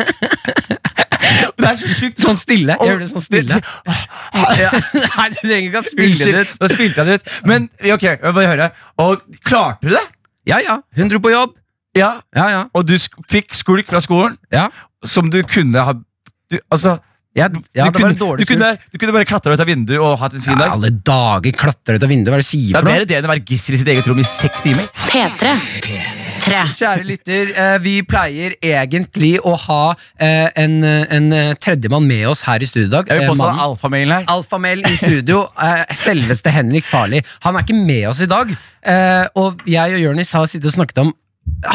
Speaker 3: ganger.
Speaker 2: Det er så sjukt.
Speaker 3: Sånn stille. Jeg gjorde det sånn stille. Ja. Nei, du trenger ikke å spille det
Speaker 2: Unnskyld,
Speaker 3: ut.
Speaker 2: nå spilte jeg det ut. Men ok, jeg vil bare høre. Og klarte du det?
Speaker 3: Ja, ja. Hun dro på jobb.
Speaker 2: Ja.
Speaker 3: Ja, ja.
Speaker 2: Og du sk fikk skulk fra skolen,
Speaker 3: ja.
Speaker 2: som du kunne ha du, Altså
Speaker 3: Jeg, ja
Speaker 2: du,
Speaker 3: det var
Speaker 2: kunne,
Speaker 3: en dårlig
Speaker 2: du, kunne, du kunne bare klatra ut av vinduet og hatt en fin
Speaker 3: Ja,
Speaker 2: dag.
Speaker 3: alle dager klatre ut av vinduet, hva er det du sier
Speaker 2: Det er
Speaker 3: for noe?
Speaker 2: mer det enn å være gissel i sitt eget rom i seks timer.
Speaker 5: P3. P3.
Speaker 3: Kjære lytter, eh, vi pleier egentlig å ha eh, en, eh, en eh, tredjemann med oss her i studio i dag.
Speaker 2: Jeg
Speaker 3: Eh,
Speaker 2: vil påstå at
Speaker 3: mannen-
Speaker 2: alfamailen her
Speaker 3: Alfamel i studio, eh, selveste Henrik Farli. Han er ikke med oss i dag. eh, Og jeg og Jonis har sittet og snakket om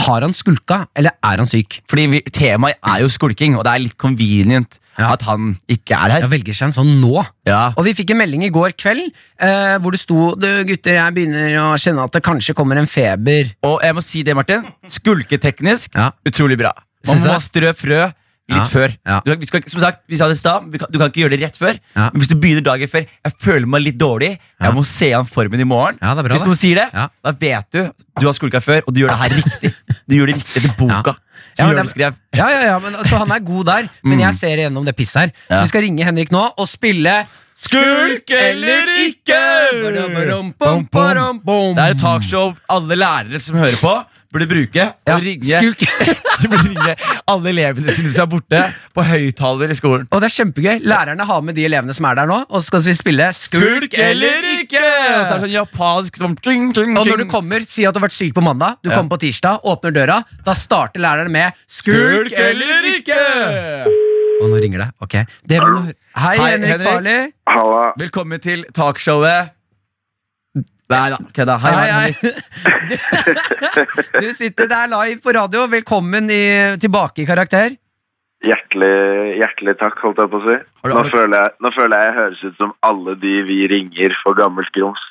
Speaker 3: har han skulka, eller er han syk?
Speaker 2: Fordi vi, temaet er jo skulking, og det er litt convenient
Speaker 3: Ja.
Speaker 2: at han ikke er
Speaker 3: Jeg
Speaker 2: her.
Speaker 3: velger seg en sånn nå.
Speaker 2: Ja.
Speaker 3: Og vi fikk en melding i går kveld eh, hvor det sto du gutter, jeg begynner å kjenne at det kanskje kommer en feber.
Speaker 2: Og jeg må si det, Martin. Skulketeknisk,
Speaker 3: Ja.
Speaker 2: utrolig bra. Man
Speaker 3: Syns
Speaker 2: må
Speaker 3: jeg.
Speaker 2: ha strø frø litt
Speaker 3: Ja.
Speaker 2: før.
Speaker 3: Ja.
Speaker 2: Du, kan- vi skal, ikke- som sagt, vi sa det i stad, vi kan- du kan ikke gjøre det rett før.
Speaker 3: Ja.
Speaker 2: Men hvis du begynner dagen før Jeg føler meg litt dårlig, jeg må se an formen i morgen.
Speaker 3: Ja, det er bra,
Speaker 2: hvis
Speaker 3: det.
Speaker 2: noen sier det,
Speaker 3: Ja.
Speaker 2: da vet du du har skulka før, og du gjør det her riktig. Du gjør det riktig etter boka.
Speaker 3: Ja,
Speaker 2: Som
Speaker 3: men
Speaker 2: Jørn
Speaker 3: det er-
Speaker 2: skrev.
Speaker 3: Ja, ja, ja, men, så han er god der, men jeg ser igjennom det pisset her. Så
Speaker 2: Ja.
Speaker 3: vi skal ringe Henrik nå og spille
Speaker 2: Skulk eller ikke? Det er et talkshow alle lærere som hører på, burde bruke. Og
Speaker 3: Ja,
Speaker 2: ringe,
Speaker 3: skulk.
Speaker 2: de burde ringe alle elevene sine som er borte, på høyttaler i skolen.
Speaker 3: Og det er kjempegøy. Lærerne har med de elevene som er der nå, og så skal vi spille Skulk eller ikke!
Speaker 2: Og så er det sånn japansk sånn, ting, ting,
Speaker 3: Og når du
Speaker 2: ting.
Speaker 3: kommer, si at du har vært syk på mandag, du
Speaker 2: Ja.
Speaker 3: kommer på tirsdag, åpner døra, da starter læreren med Skulk eller ikke! Og nå ringer det. ok det må du... Hei,
Speaker 2: Hei,
Speaker 3: Henrik,
Speaker 2: Henrik.
Speaker 3: Farli.
Speaker 6: Halla.
Speaker 2: Velkommen til talkshowet. Nei da, kødda. Hei, hei, hei.
Speaker 3: Du, du sitter der live på radio. Velkommen i, tilbake i karakter.
Speaker 6: Hjertelig, hjertelig takk, holdt jeg på å si.
Speaker 2: Har du-
Speaker 6: Nå
Speaker 2: har du-
Speaker 6: føler, jeg, nå føler jeg jeg høres ut som alle de vi ringer for gammelt grums.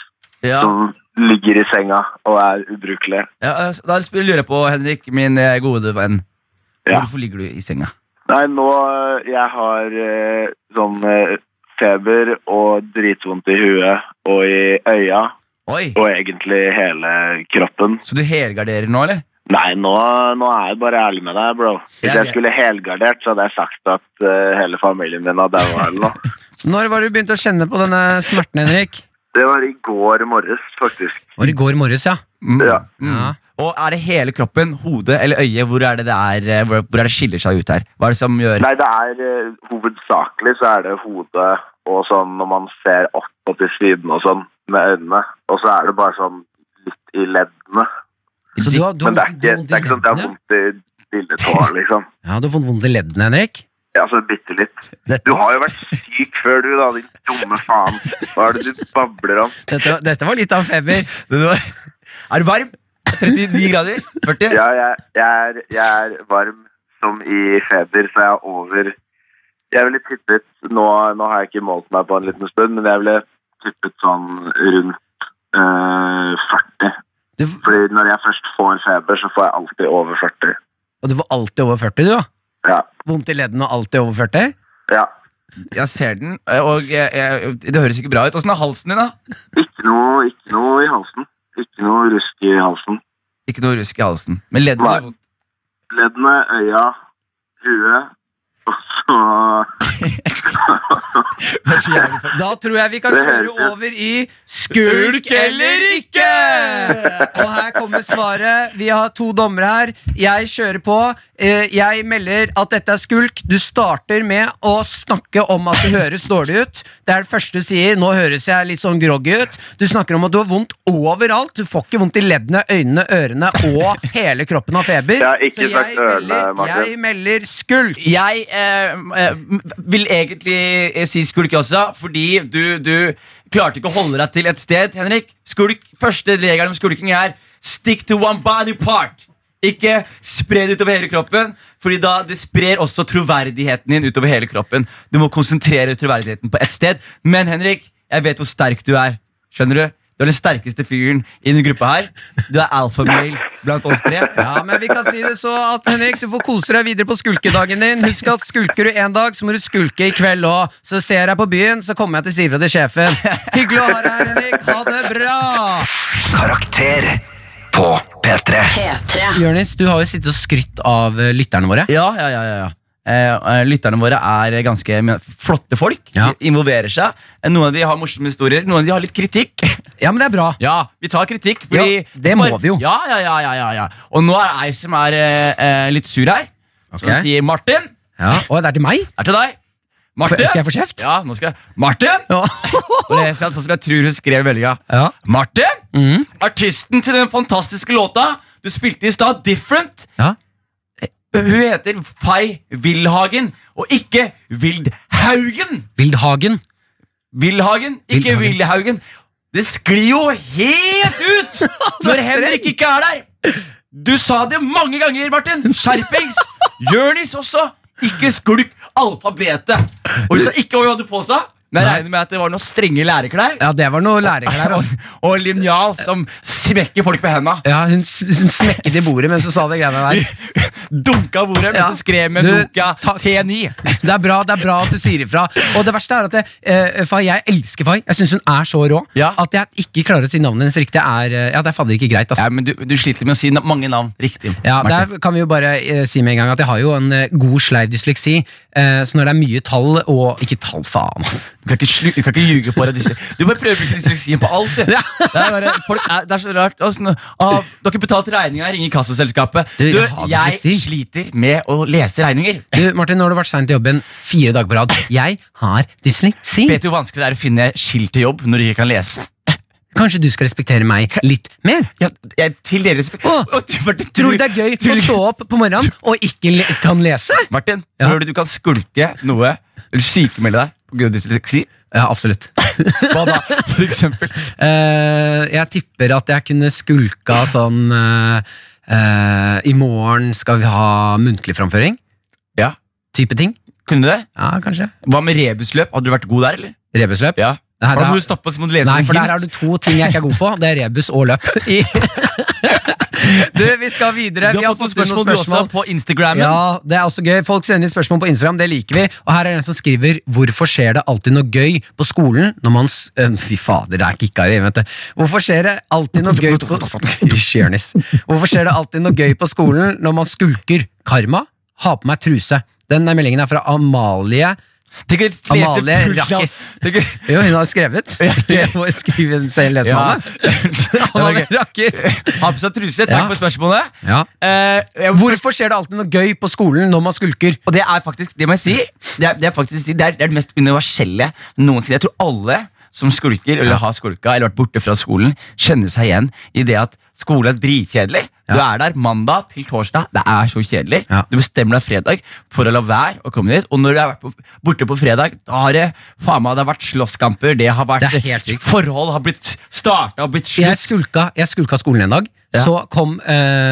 Speaker 2: Ja,
Speaker 6: Som ligger i senga og er ubrukelige.
Speaker 2: ja, altså, da sp- lurer jeg på, Henrik, min eh, gode venn.
Speaker 6: Ja.
Speaker 2: Hvorfor ligger du i senga?
Speaker 6: Nei, nå eh, Jeg har eh, sånn eh, feber og dritvondt i huet og i øya.
Speaker 2: Oi,
Speaker 6: Og egentlig hele kroppen.
Speaker 2: Så du helgarderer nå, eller?
Speaker 6: Nei, nå, nå er jeg bare ærlig med deg, bro. Hvis
Speaker 2: Jeg
Speaker 6: jeg
Speaker 2: vet.
Speaker 6: skulle helgardert, så hadde jeg sagt at eh, hele familien min har daua eller noe.
Speaker 3: Når var det du begynte å kjenne på denne smerten, Henrik?
Speaker 6: Det var i går morges, faktisk.
Speaker 3: Var i går morges, ja.
Speaker 2: Mm.
Speaker 6: Ja.
Speaker 2: Mm.
Speaker 3: Ja.
Speaker 2: Og er det hele kroppen, hodet eller øyet? Hvor er det det, er, eh, hvor, hvor er det skiller seg ut her? Hva er det som gjør
Speaker 6: Nei, det er eh, hovedsakelig så er det hodet og sånn når man ser opp og til siden og sånn med øynene. Og så er det bare sånn litt i leddene.
Speaker 3: Så du har, du har
Speaker 6: Men det er
Speaker 3: vondt-
Speaker 6: ikke, sånn
Speaker 3: du har vondt
Speaker 6: det er
Speaker 3: i
Speaker 6: ikke sånn at
Speaker 3: leddene?
Speaker 6: jeg har vondt i lilletåa, liksom.
Speaker 3: Ja, du har fått vondt i leddene, Henrik.
Speaker 6: Ja, så bitte litt. Du har jo vært syk før, du, da, din dumme faen. Hva er det du babler om?
Speaker 3: Dette, dette var litt av en femmer.
Speaker 2: Det var- Er du varm? 39 grader? 40?
Speaker 6: Ja, jeg, jeg, er, jeg er varm som i feber, så jeg er over Jeg ville tippet nå, nå har jeg ikke målt meg på en liten stund, men jeg ville tippet sånn rundt eh, 40.
Speaker 3: Du,
Speaker 6: Fordi når jeg først får feber, så får jeg alltid over 40.
Speaker 3: og du var alltid over 40, du, da?
Speaker 6: Ja.
Speaker 3: Vondt i leddene og alltid over 40?
Speaker 6: ja.
Speaker 2: Jeg ser den, og jeg, jeg, det høres ikke bra ut. Åssen er halsen din, da?
Speaker 6: Ikke noe, ikke noe i halsen. Ikke noe rusk i halsen.
Speaker 2: Ikke noe rusk i halsen. Men leddene
Speaker 6: Nei.
Speaker 2: gjør vondt.
Speaker 6: Leddene, øya, huet, og så
Speaker 3: Da tror jeg vi kan
Speaker 6: Det høres
Speaker 3: kjøre
Speaker 6: ut.
Speaker 3: over i skulk eller ikke! Og her kommer svaret. Vi har to dommere her. Jeg kjører på. Eh, Jeg melder at dette er skulk. Du starter med å snakke om at det høres dårlig ut. Det er det første du sier. Nå høres jeg litt sånn groggy ut. Du snakker om at du har vondt overalt. Du får ikke vondt i leddene, øynene, ørene og hele kroppen av feber.
Speaker 6: Jeg har ikke
Speaker 3: Så
Speaker 6: sagt
Speaker 3: jeg
Speaker 6: ørene,
Speaker 3: melder,
Speaker 6: Martin.
Speaker 3: jeg melder skulk.
Speaker 2: Jeg eh, eh, vil egentlig eh, si skulk også, fordi du, du klarte ikke å holde deg til et sted, Henrik. Skulk, Første regelen om skulking er stick to one body part. Ikke spre det utover hele kroppen, Fordi da det sprer også troverdigheten din utover hele kroppen. Du må konsentrere troverdigheten på ett sted. Men Henrik, jeg vet hvor sterk du er. Skjønner du? Du er den sterkeste fyren i denne gruppa her. Du er alfamale blant oss tre.
Speaker 3: Ja, men vi kan si det så at Henrik, du får kose deg videre på skulkedagen din. Husk at skulker du en dag, så må du skulke i kveld òg. Så ser jeg deg på byen, så kommer jeg til å si fra til sjefen. Hyggelig å ha deg her, Henrik. Ha det bra!
Speaker 1: Karakter på P3.
Speaker 5: P3.
Speaker 3: Jonis, du har jo sittet og skrytt av eh, lytterne våre.
Speaker 2: Ja, ja, ja, ja, ja. Eh, eh, lytterne våre er ganske men- flotte folk.
Speaker 3: Ja.
Speaker 2: De involverer seg. Eh, Noen av de har morsomme historier, noen av de har litt kritikk.
Speaker 3: Ja, men det er bra.
Speaker 2: Ja, vi tar kritikk. Fordi
Speaker 3: Ja, det må vi jo.
Speaker 2: Ja, ja, ja, ja, ja, ja. Og nå er det ei som er eh, eh, litt sur her. Som
Speaker 3: Ok.
Speaker 2: sier 'Martin,
Speaker 3: Ja. Og det er til meg?
Speaker 2: er til deg'.
Speaker 3: F-
Speaker 2: Martin.
Speaker 3: Skal jeg få kjeft?
Speaker 2: Ja, nå skal jeg Martin!
Speaker 3: Ja.
Speaker 2: Og leser jeg sånn som jeg tror hun skrev meldinga.
Speaker 3: Ja.
Speaker 2: Martin!
Speaker 3: Mhm.
Speaker 2: Artisten til den fantastiske låta du spilte i stad, 'Different',
Speaker 3: Ja.
Speaker 2: Hun heter Fay Wilhagen, og ikke Vildhaugen.
Speaker 3: Vildhagen.
Speaker 2: Wilhagen, ikke
Speaker 3: Vildhagen.
Speaker 2: Wilhaugen. Det sklir jo helt ut når Henrik ikke er der! Du sa det mange ganger, Martin. Skjerpings! Jonis også. Ikke skulk alfabetet. Og hun sa ikke hva hun hadde på seg, men jeg
Speaker 3: Nei.
Speaker 2: regner med at det var noen strenge læreklær.
Speaker 3: Ja, det var noe altså. lærerklær, ass.
Speaker 2: Og linjal som smekker folk på henda.
Speaker 3: Ja, hun, s- hun smekket i bordet mens hun sa det greiene der.
Speaker 2: Dunka bordet mens
Speaker 3: Ja.
Speaker 2: hun skrev med
Speaker 3: Du,
Speaker 2: boka T9.
Speaker 3: Det er bra det er bra at du sier ifra. Og det verste er at jeg, eh, Fay, jeg elsker Fay. Jeg syns hun er så rå
Speaker 2: Ja.
Speaker 3: at jeg ikke klarer å si navnet hennes riktig. Er, eh, ja, Det er fader ikke greit.
Speaker 2: Ja,
Speaker 3: Ass.
Speaker 2: men du, du sliter med å si na mange navn riktig.
Speaker 3: Ja,
Speaker 2: Martin.
Speaker 3: der kan vi jo bare eh, si med en gang at Jeg har jo en eh, god sleiv dysleksi, eh, så når det er mye tall og Ikke tall, faen, altså. ass.
Speaker 2: Du kan ikke, slu, du kan ikke ljuge på deg. dysle- Du bare prøver å bruke dysleksien på alt. Du. Det, er bare, folk er, det er så rart. Altså, nå- ah, du har ikke betalt regninga, ringer kassoselskapet.
Speaker 3: Du,
Speaker 2: Du,
Speaker 3: jeg har
Speaker 2: jeg
Speaker 3: dysleksi.
Speaker 2: sliter med å lese regninger.
Speaker 3: Du, Martin, nå har du vært sein til jobben fire dager på rad. Jeg har dysleksi.
Speaker 2: Vet du hvor vanskelig det er å finne skilt til jobb når du ikke kan lese?
Speaker 3: Kanskje du skal respektere meg litt mer?
Speaker 2: Ja, jeg, til deres
Speaker 3: Å,
Speaker 2: Å, du, Martin,
Speaker 3: Tror du det er gøy å stå opp på morgenen og ikke le kan lese?
Speaker 2: Martin,
Speaker 3: Ja.
Speaker 2: tror du du kan skulke noe eller sykemelde deg pga. dysleksi?
Speaker 3: Ja, absolutt.
Speaker 2: Hva da, for eksempel?
Speaker 3: Eh, jeg tipper at jeg kunne skulka sånn eh, eh, I morgen skal vi ha muntlig framføring.
Speaker 2: Ja,
Speaker 3: Type ting.
Speaker 2: Kunne du det?
Speaker 3: Ja, kanskje.
Speaker 2: Hva med rebusløp? Hadde du vært god der, eller?
Speaker 3: Rebusløp.
Speaker 2: Ja.
Speaker 3: Nei,
Speaker 2: Har
Speaker 3: det
Speaker 2: du
Speaker 3: har-
Speaker 2: noe stoppet, så må du lese
Speaker 3: Nei,
Speaker 2: noe
Speaker 3: for
Speaker 2: hint.
Speaker 3: der har du to ting jeg ikke er god på. Det er rebus og løp. I du, vi skal videre.
Speaker 2: Du
Speaker 3: Vi
Speaker 2: har fått noen
Speaker 3: inn
Speaker 2: spørsmål, du også på Instagrammen.
Speaker 3: Ja, det er også gøy. Folk sender inn spørsmål på Instagram, det liker vi. Og her er en som skriver 'Hvorfor skjer det alltid noe gøy på skolen når man s Øh, Fy fader, det er ikke Kari, vet du. Hvorfor skjer det alltid noe gøy på Hysj, Jonis. Hvorfor skjer det alltid noe gøy på skolen når man skulker? Karma? Ha på meg truse. Den meldingen er fra Amalie.
Speaker 2: Tenk å lese
Speaker 3: Amalie
Speaker 2: fullt navn.
Speaker 3: Rakkes.
Speaker 2: Tenk å-
Speaker 3: Jo, hun har skrevet. Jeg må skrive den selv, lese
Speaker 2: Ja.
Speaker 3: navnet. Amalie Rakkes.
Speaker 2: Ha på seg truse.
Speaker 3: Ja.
Speaker 2: Takk for spørsmålet.
Speaker 3: Ja.
Speaker 2: Eh, jeg-
Speaker 3: Hvorfor skjer det alltid noe gøy på skolen når man skulker?
Speaker 2: og det er faktisk det må jeg si, det er, det er, faktisk, det er, det er det mest universelle noensinne. Jeg tror alle som skulker, eller har skulka, eller vært borte fra skolen, kjenner seg igjen i det at skole er dritkjedelig. Du er der mandag til torsdag. Det er så kjedelig.
Speaker 3: Ja.
Speaker 2: Du bestemmer deg fredag for å la være å komme dit. Og når du har vært på, borte på fredag, da har det faen meg det har vært slåsskamper. Det har vært
Speaker 3: Det er helt sykt.
Speaker 2: Forhold har blitt starta, har blitt
Speaker 3: Jeg
Speaker 2: slutt.
Speaker 3: skulka, jeg skulka skolen en dag.
Speaker 2: Ja.
Speaker 3: Så kom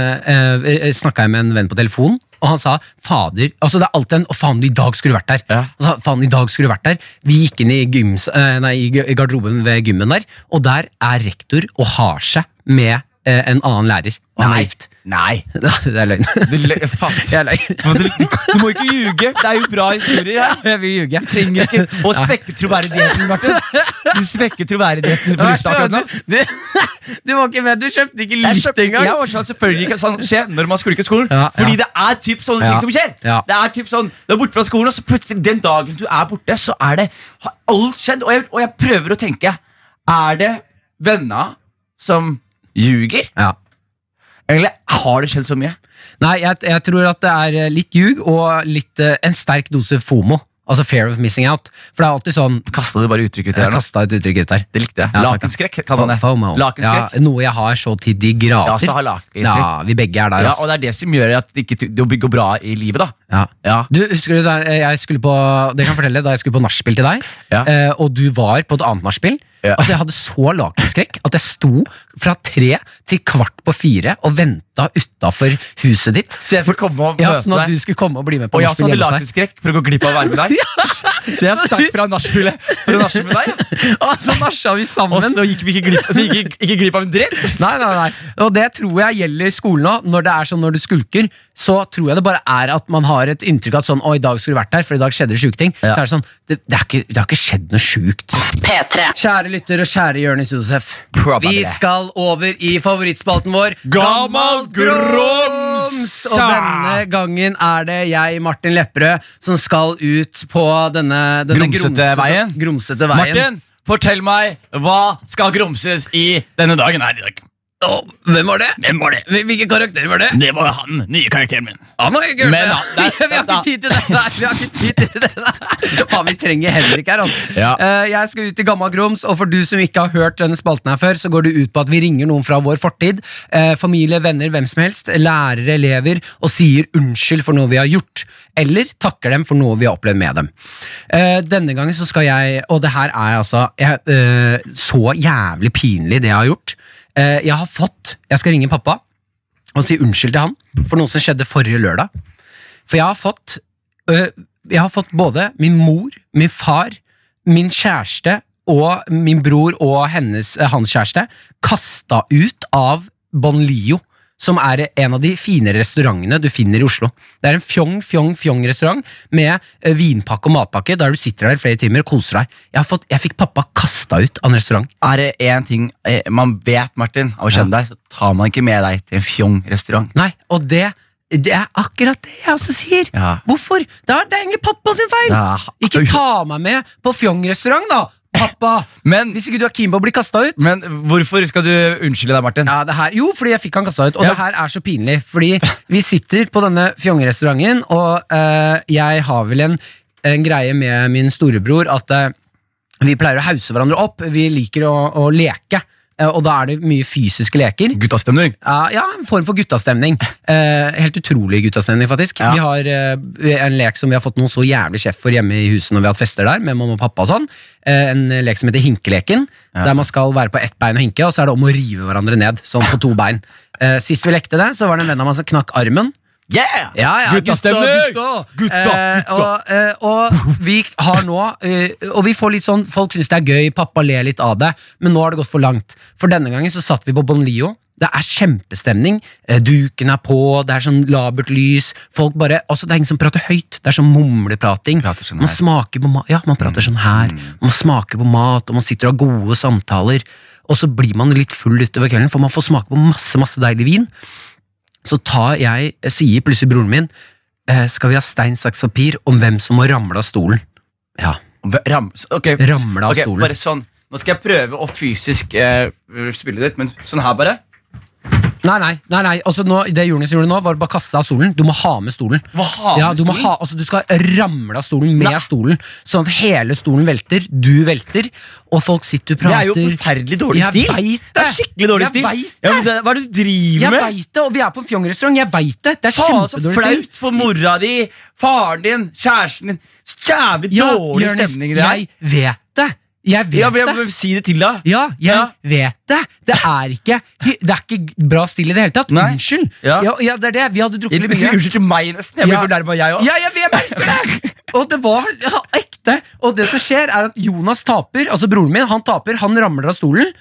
Speaker 3: eh, eh, snakka jeg med en venn på telefon, og han sa fader altså Det er alltid en 'Å, faen, i dag skulle du vært der'.
Speaker 2: Ja.
Speaker 3: Han sa, faen, i dag skulle du vært der Vi gikk inn i, gyms, eh, nei, i gu- i garderoben ved gymmen der, og der er rektor og har seg med eh, en annen lærer. Og han er gift.
Speaker 2: Nei.
Speaker 3: Det er løgn.
Speaker 2: Du, lø- faen.
Speaker 3: Jeg er løgn.
Speaker 2: Men du, du må ikke ljuge. Det er jo bra historier her.
Speaker 3: Jeg vil ljuge.
Speaker 2: Trenger ikke å svekke troverdigheten, Martin. Du svekker troverdigheten på lufta akkurat nå.
Speaker 3: Du, du var ikke med, du kjøpte ikke
Speaker 2: Jeg,
Speaker 3: litt
Speaker 2: skjønner-
Speaker 3: engang.
Speaker 2: jeg var sånn selvfølgelig ikke sånn skje når man skulker skolen.
Speaker 3: Ja, ja.
Speaker 2: Fordi det er typ sånne
Speaker 3: Ja,
Speaker 2: ting som skjer.
Speaker 3: ja.
Speaker 2: Det er typ sånn, Du er borte fra skolen, og så plutselig den dagen du er borte, så er det har alt skjedd. Og jeg, og jeg prøver å tenke. Er det venna som ljuger,
Speaker 3: Ja.
Speaker 2: eller har det skjedd så mye?
Speaker 3: Nei, jeg, jeg tror at det er eh, litt ljug og litt, eh, en sterk dose FOMO. Altså fear of missing out. For det er alltid sånn
Speaker 2: Kasta du bare uttrykket ut
Speaker 3: Jeg
Speaker 2: her nå?
Speaker 3: kasta et uttrykk ut der.
Speaker 2: Det likte jeg.
Speaker 3: Ja, takk.
Speaker 2: Lakenskrekk kan man det.
Speaker 3: FOMO. Ja,
Speaker 2: Lakenskrekk.
Speaker 3: noe jeg har så til de
Speaker 2: Ja,
Speaker 3: grader.
Speaker 2: så har lakenskrekk.
Speaker 3: Ja, vi begge er der,
Speaker 2: Ja,
Speaker 3: altså.
Speaker 2: og det er det som gjør at det ikke det går bra i livet, da.
Speaker 3: Ja.
Speaker 2: Ja.
Speaker 3: Du, husker du da eh, jeg skulle på Det kan jeg fortelle Da jeg skulle på nachspiel til deg,
Speaker 2: Ja.
Speaker 3: eh, og du var på et annet nachspiel
Speaker 2: Ja.
Speaker 3: Altså Jeg hadde så lakenskrekk at jeg sto fra tre til kvart på fire og venta utafor huset ditt.
Speaker 2: Så jeg skulle komme og
Speaker 3: Ja,
Speaker 2: møte
Speaker 3: Sånn at du
Speaker 2: deg.
Speaker 3: skulle komme og bli med på
Speaker 2: Og jeg også
Speaker 3: nachspiel
Speaker 2: hadde
Speaker 3: hjemme hos deg.
Speaker 2: lakenskrekk for å gå glipp av å være med deg. Så jeg stakk fra nachspielet for å nasje med deg.
Speaker 3: Og så nasja vi
Speaker 2: Og
Speaker 3: sammen.
Speaker 2: så gikk vi ikke glipp, så gikk vi ikke glipp av en dritt.
Speaker 3: Nei, nei, nei. Og det tror jeg gjelder skolen òg. Når det er sånn når du skulker, så tror jeg det bare er at man har et inntrykk av at sånn, å, i dag skulle du vært der, for i dag skjedde det sjuke ting. Så er det sånn, det, det, er ikke, det har ikke skjedd noe sjukt.
Speaker 5: P3.
Speaker 3: Kjære lytter og kjære Jonis Josef.
Speaker 2: Probably.
Speaker 3: Vi skal over i favorittspalten vår.
Speaker 4: Gammel grums!
Speaker 3: Og denne gangen er det jeg, Martin Lepperød, som skal ut på denne, denne
Speaker 2: Grumsete
Speaker 3: grumsete-
Speaker 2: veien.
Speaker 3: Grumsete veien.
Speaker 2: Martin, fortell meg, hva skal grumses i denne dagen her i dag?
Speaker 3: Hvem var det?
Speaker 2: Hvem var det?
Speaker 3: Hvil- Hvilke karakterer var det?
Speaker 2: Det var han, nye karakteren min.
Speaker 3: Han var jo gul,
Speaker 2: Men
Speaker 3: ja.
Speaker 2: da-
Speaker 3: vi har ikke
Speaker 2: da-
Speaker 3: tid til det der! Vi har ikke tid til det der. Faen, vi trenger Henrik her, altså.
Speaker 2: Ja.
Speaker 3: Eh, jeg skal ut i Gamma Grums, og for du som ikke har hørt denne spalten her før, så går det ut på at vi ringer noen fra vår fortid, eh, familie, venner, hvem som helst, lærere, elever, og sier unnskyld for noe vi har gjort, eller takker dem for noe vi har opplevd med dem. Eh, denne gangen så skal jeg, og det her er altså jeg, eh, så jævlig pinlig det jeg har gjort. Eh, jeg har fått, jeg skal ringe pappa, og si unnskyld til han for noe som skjedde forrige lørdag. For jeg har fått øh, Jeg har fått både min mor, min far, min kjæreste og min bror og hennes, eh, hans kjæreste kasta ut av Bon Lio, som er en av de finere restaurantene du finner i Oslo. Det er en fjong, fjong, fjong restaurant med eh, vinpakke og matpakke, der du sitter der i flere timer og koser deg. Jeg, har fått, jeg fikk pappa kasta ut av en restaurant.
Speaker 2: Er det én ting eh, man vet, Martin, av å kjenne deg, så tar man ikke med deg til en fjong-restaurant.
Speaker 3: Nei, og det, det er akkurat det jeg også sier.
Speaker 2: Ja.
Speaker 3: Hvorfor? Det er, det er egentlig pappa sin feil!
Speaker 2: Ja.
Speaker 3: Ikke ta meg med på fjong-restaurant, da! Pappa!
Speaker 2: Men,
Speaker 3: Hvis ikke du er keen på å bli kasta ut.
Speaker 2: men hvorfor skal du unnskylde deg, Martin?
Speaker 3: Ja, det her, jo, fordi jeg fikk han kasta ut, og
Speaker 2: Ja.
Speaker 3: det her er så pinlig. Fordi vi sitter på denne fjong-restauranten, og eh, jeg har vel en, en greie med min storebror at eh, vi pleier å hause hverandre opp. Vi liker å, å leke, eh, og da er det mye fysiske leker.
Speaker 2: Guttastemning.
Speaker 3: Ja, ja, en form for guttastemning. Eh, helt utrolig guttastemning, faktisk.
Speaker 2: Ja.
Speaker 3: Vi har eh, en lek som vi har fått noe så jævlig kjeft for hjemme i huset når vi har hatt fester der, med mamma og pappa og sånn. Eh, en lek som heter hinkeleken, der man skal være på ett bein og hinke, og så er det om å rive hverandre ned, sånn på to bein. Eh, sist vi lekte det, så var det en venn av meg som knakk armen.
Speaker 2: Yeah!
Speaker 3: Ja, ja,
Speaker 4: Guttastemning!
Speaker 3: Gutta,
Speaker 4: Gutta,
Speaker 3: Eh, og, eh, og vi har nå eh, Og vi får litt sånn Folk syns det er gøy, pappa ler litt av det, men nå har det gått for langt. For denne gangen så satt vi på Bon Lio. Det er kjempestemning. Eh, Duken er på, det er sånn labert lys. Folk bare, altså Det er ingen som prater høyt. Det er sånn mumleprating.
Speaker 2: Prater sånn
Speaker 3: man
Speaker 2: her. Mm.
Speaker 3: smaker på ma ja, man prater sånn her. Man smaker på mat, og man sitter og har gode samtaler. Og så blir man litt full utover kvelden, for man får smake på masse masse deilig vin. Så tar jeg, jeg sier plutselig broren min eh, Skal vi ha stein, saks, papir om hvem som må ramle av stolen? Ja,
Speaker 2: Ram, ok.
Speaker 3: Ramla av
Speaker 2: Ok,
Speaker 3: stolen.
Speaker 2: Bare sånn. Nå skal jeg prøve å fysisk eh, spille litt, men sånn her bare.
Speaker 3: Nei, nei, nei, nei. Altså, nå, det Jonis gjorde nå, var å bare kaste av stolen. Du må ha med stolen.
Speaker 2: Hva har
Speaker 3: Ja, du, må ha, altså, du skal ramle av stolen med stolen, sånn at hele stolen velter. Du velter, og folk sitter og
Speaker 2: Det
Speaker 3: prater.
Speaker 2: er jo forferdelig dårlig
Speaker 3: Jeg
Speaker 2: stil.
Speaker 3: vet det.
Speaker 2: er skikkelig dårlig
Speaker 3: Jeg
Speaker 2: stil.
Speaker 3: vet
Speaker 2: Ja, men det, hva er det du driver
Speaker 3: Jeg
Speaker 2: med?
Speaker 3: veit det, og vi er på en Fjong-restaurant. Jeg veit det. Det er
Speaker 2: Faen, så
Speaker 3: kjempedårlig stil.
Speaker 2: flaut for mora di, faren din, kjæresten din. Så Jævlig
Speaker 3: Ja,
Speaker 2: dårlig
Speaker 3: Jonis,
Speaker 2: stemning i det her.
Speaker 3: Jeg vet det. Jeg vet
Speaker 2: Ja, men jeg
Speaker 3: det.
Speaker 2: må si det til deg.
Speaker 3: Ja, jeg
Speaker 2: Ja.
Speaker 3: vet det. Det er ikke Det er ikke bra stil i det hele tatt.
Speaker 2: Nei.
Speaker 3: Unnskyld.
Speaker 2: Ja.
Speaker 3: Ja, ja, det er det. Vi hadde drukket litt mye.
Speaker 2: Unnskyld til meg, nesten. Jeg blir
Speaker 3: Ja.
Speaker 2: fornærma, jeg òg.
Speaker 3: Ja, jeg, jeg merker det! Og det var ja, ekte. Og det som skjer, er at Jonas taper. Altså broren min, han taper. Han ramler av stolen.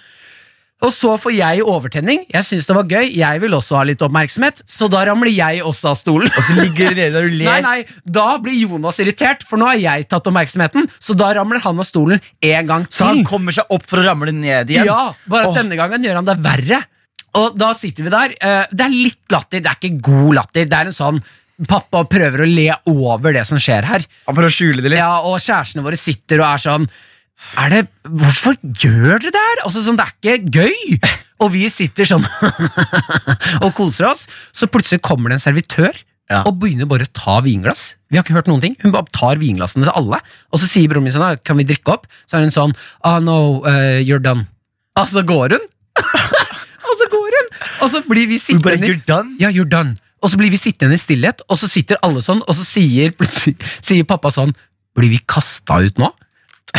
Speaker 3: Og så får jeg overtenning. Jeg syns det var gøy. Jeg vil også ha litt oppmerksomhet, så da ramler jeg også av stolen.
Speaker 2: Og så ligger det nede der du ler.
Speaker 3: Nei, nei, Da blir Jonas irritert, for nå har jeg tatt oppmerksomheten. Så da ramler han av stolen en gang til.
Speaker 2: Så han kommer seg opp for å ramle ned igjen.
Speaker 3: Ja, bare at
Speaker 2: Åh.
Speaker 3: denne gangen gjør han det verre. Og da sitter vi der. eh, Det er litt latter, det er ikke god latter. Det er en sånn Pappa prøver å le over det som skjer her.
Speaker 2: Ja, For å skjule det litt.
Speaker 3: Ja, Og kjærestene våre sitter og er sånn er det, Hvorfor gjør dere det her? Altså, sånn, det er ikke gøy! Og vi sitter sånn og koser oss. Så plutselig kommer det en servitør
Speaker 2: Ja.
Speaker 3: og begynner bare å ta vinglass. Vi har ikke hørt noen ting. Hun bare tar vinglassene til alle, og så sier broren min sånn «Ah, Kan vi drikke opp? Så er hun sånn Ah, no, eh, you're done. Og så går hun. og så går hun! Og så blir vi
Speaker 2: Du bare
Speaker 3: sittende
Speaker 2: you're done.
Speaker 3: ja, you're done. Og så blir vi sittende i stillhet, og så sitter alle sånn, og så sier, plutselig- sier pappa sånn Blir vi kasta ut nå?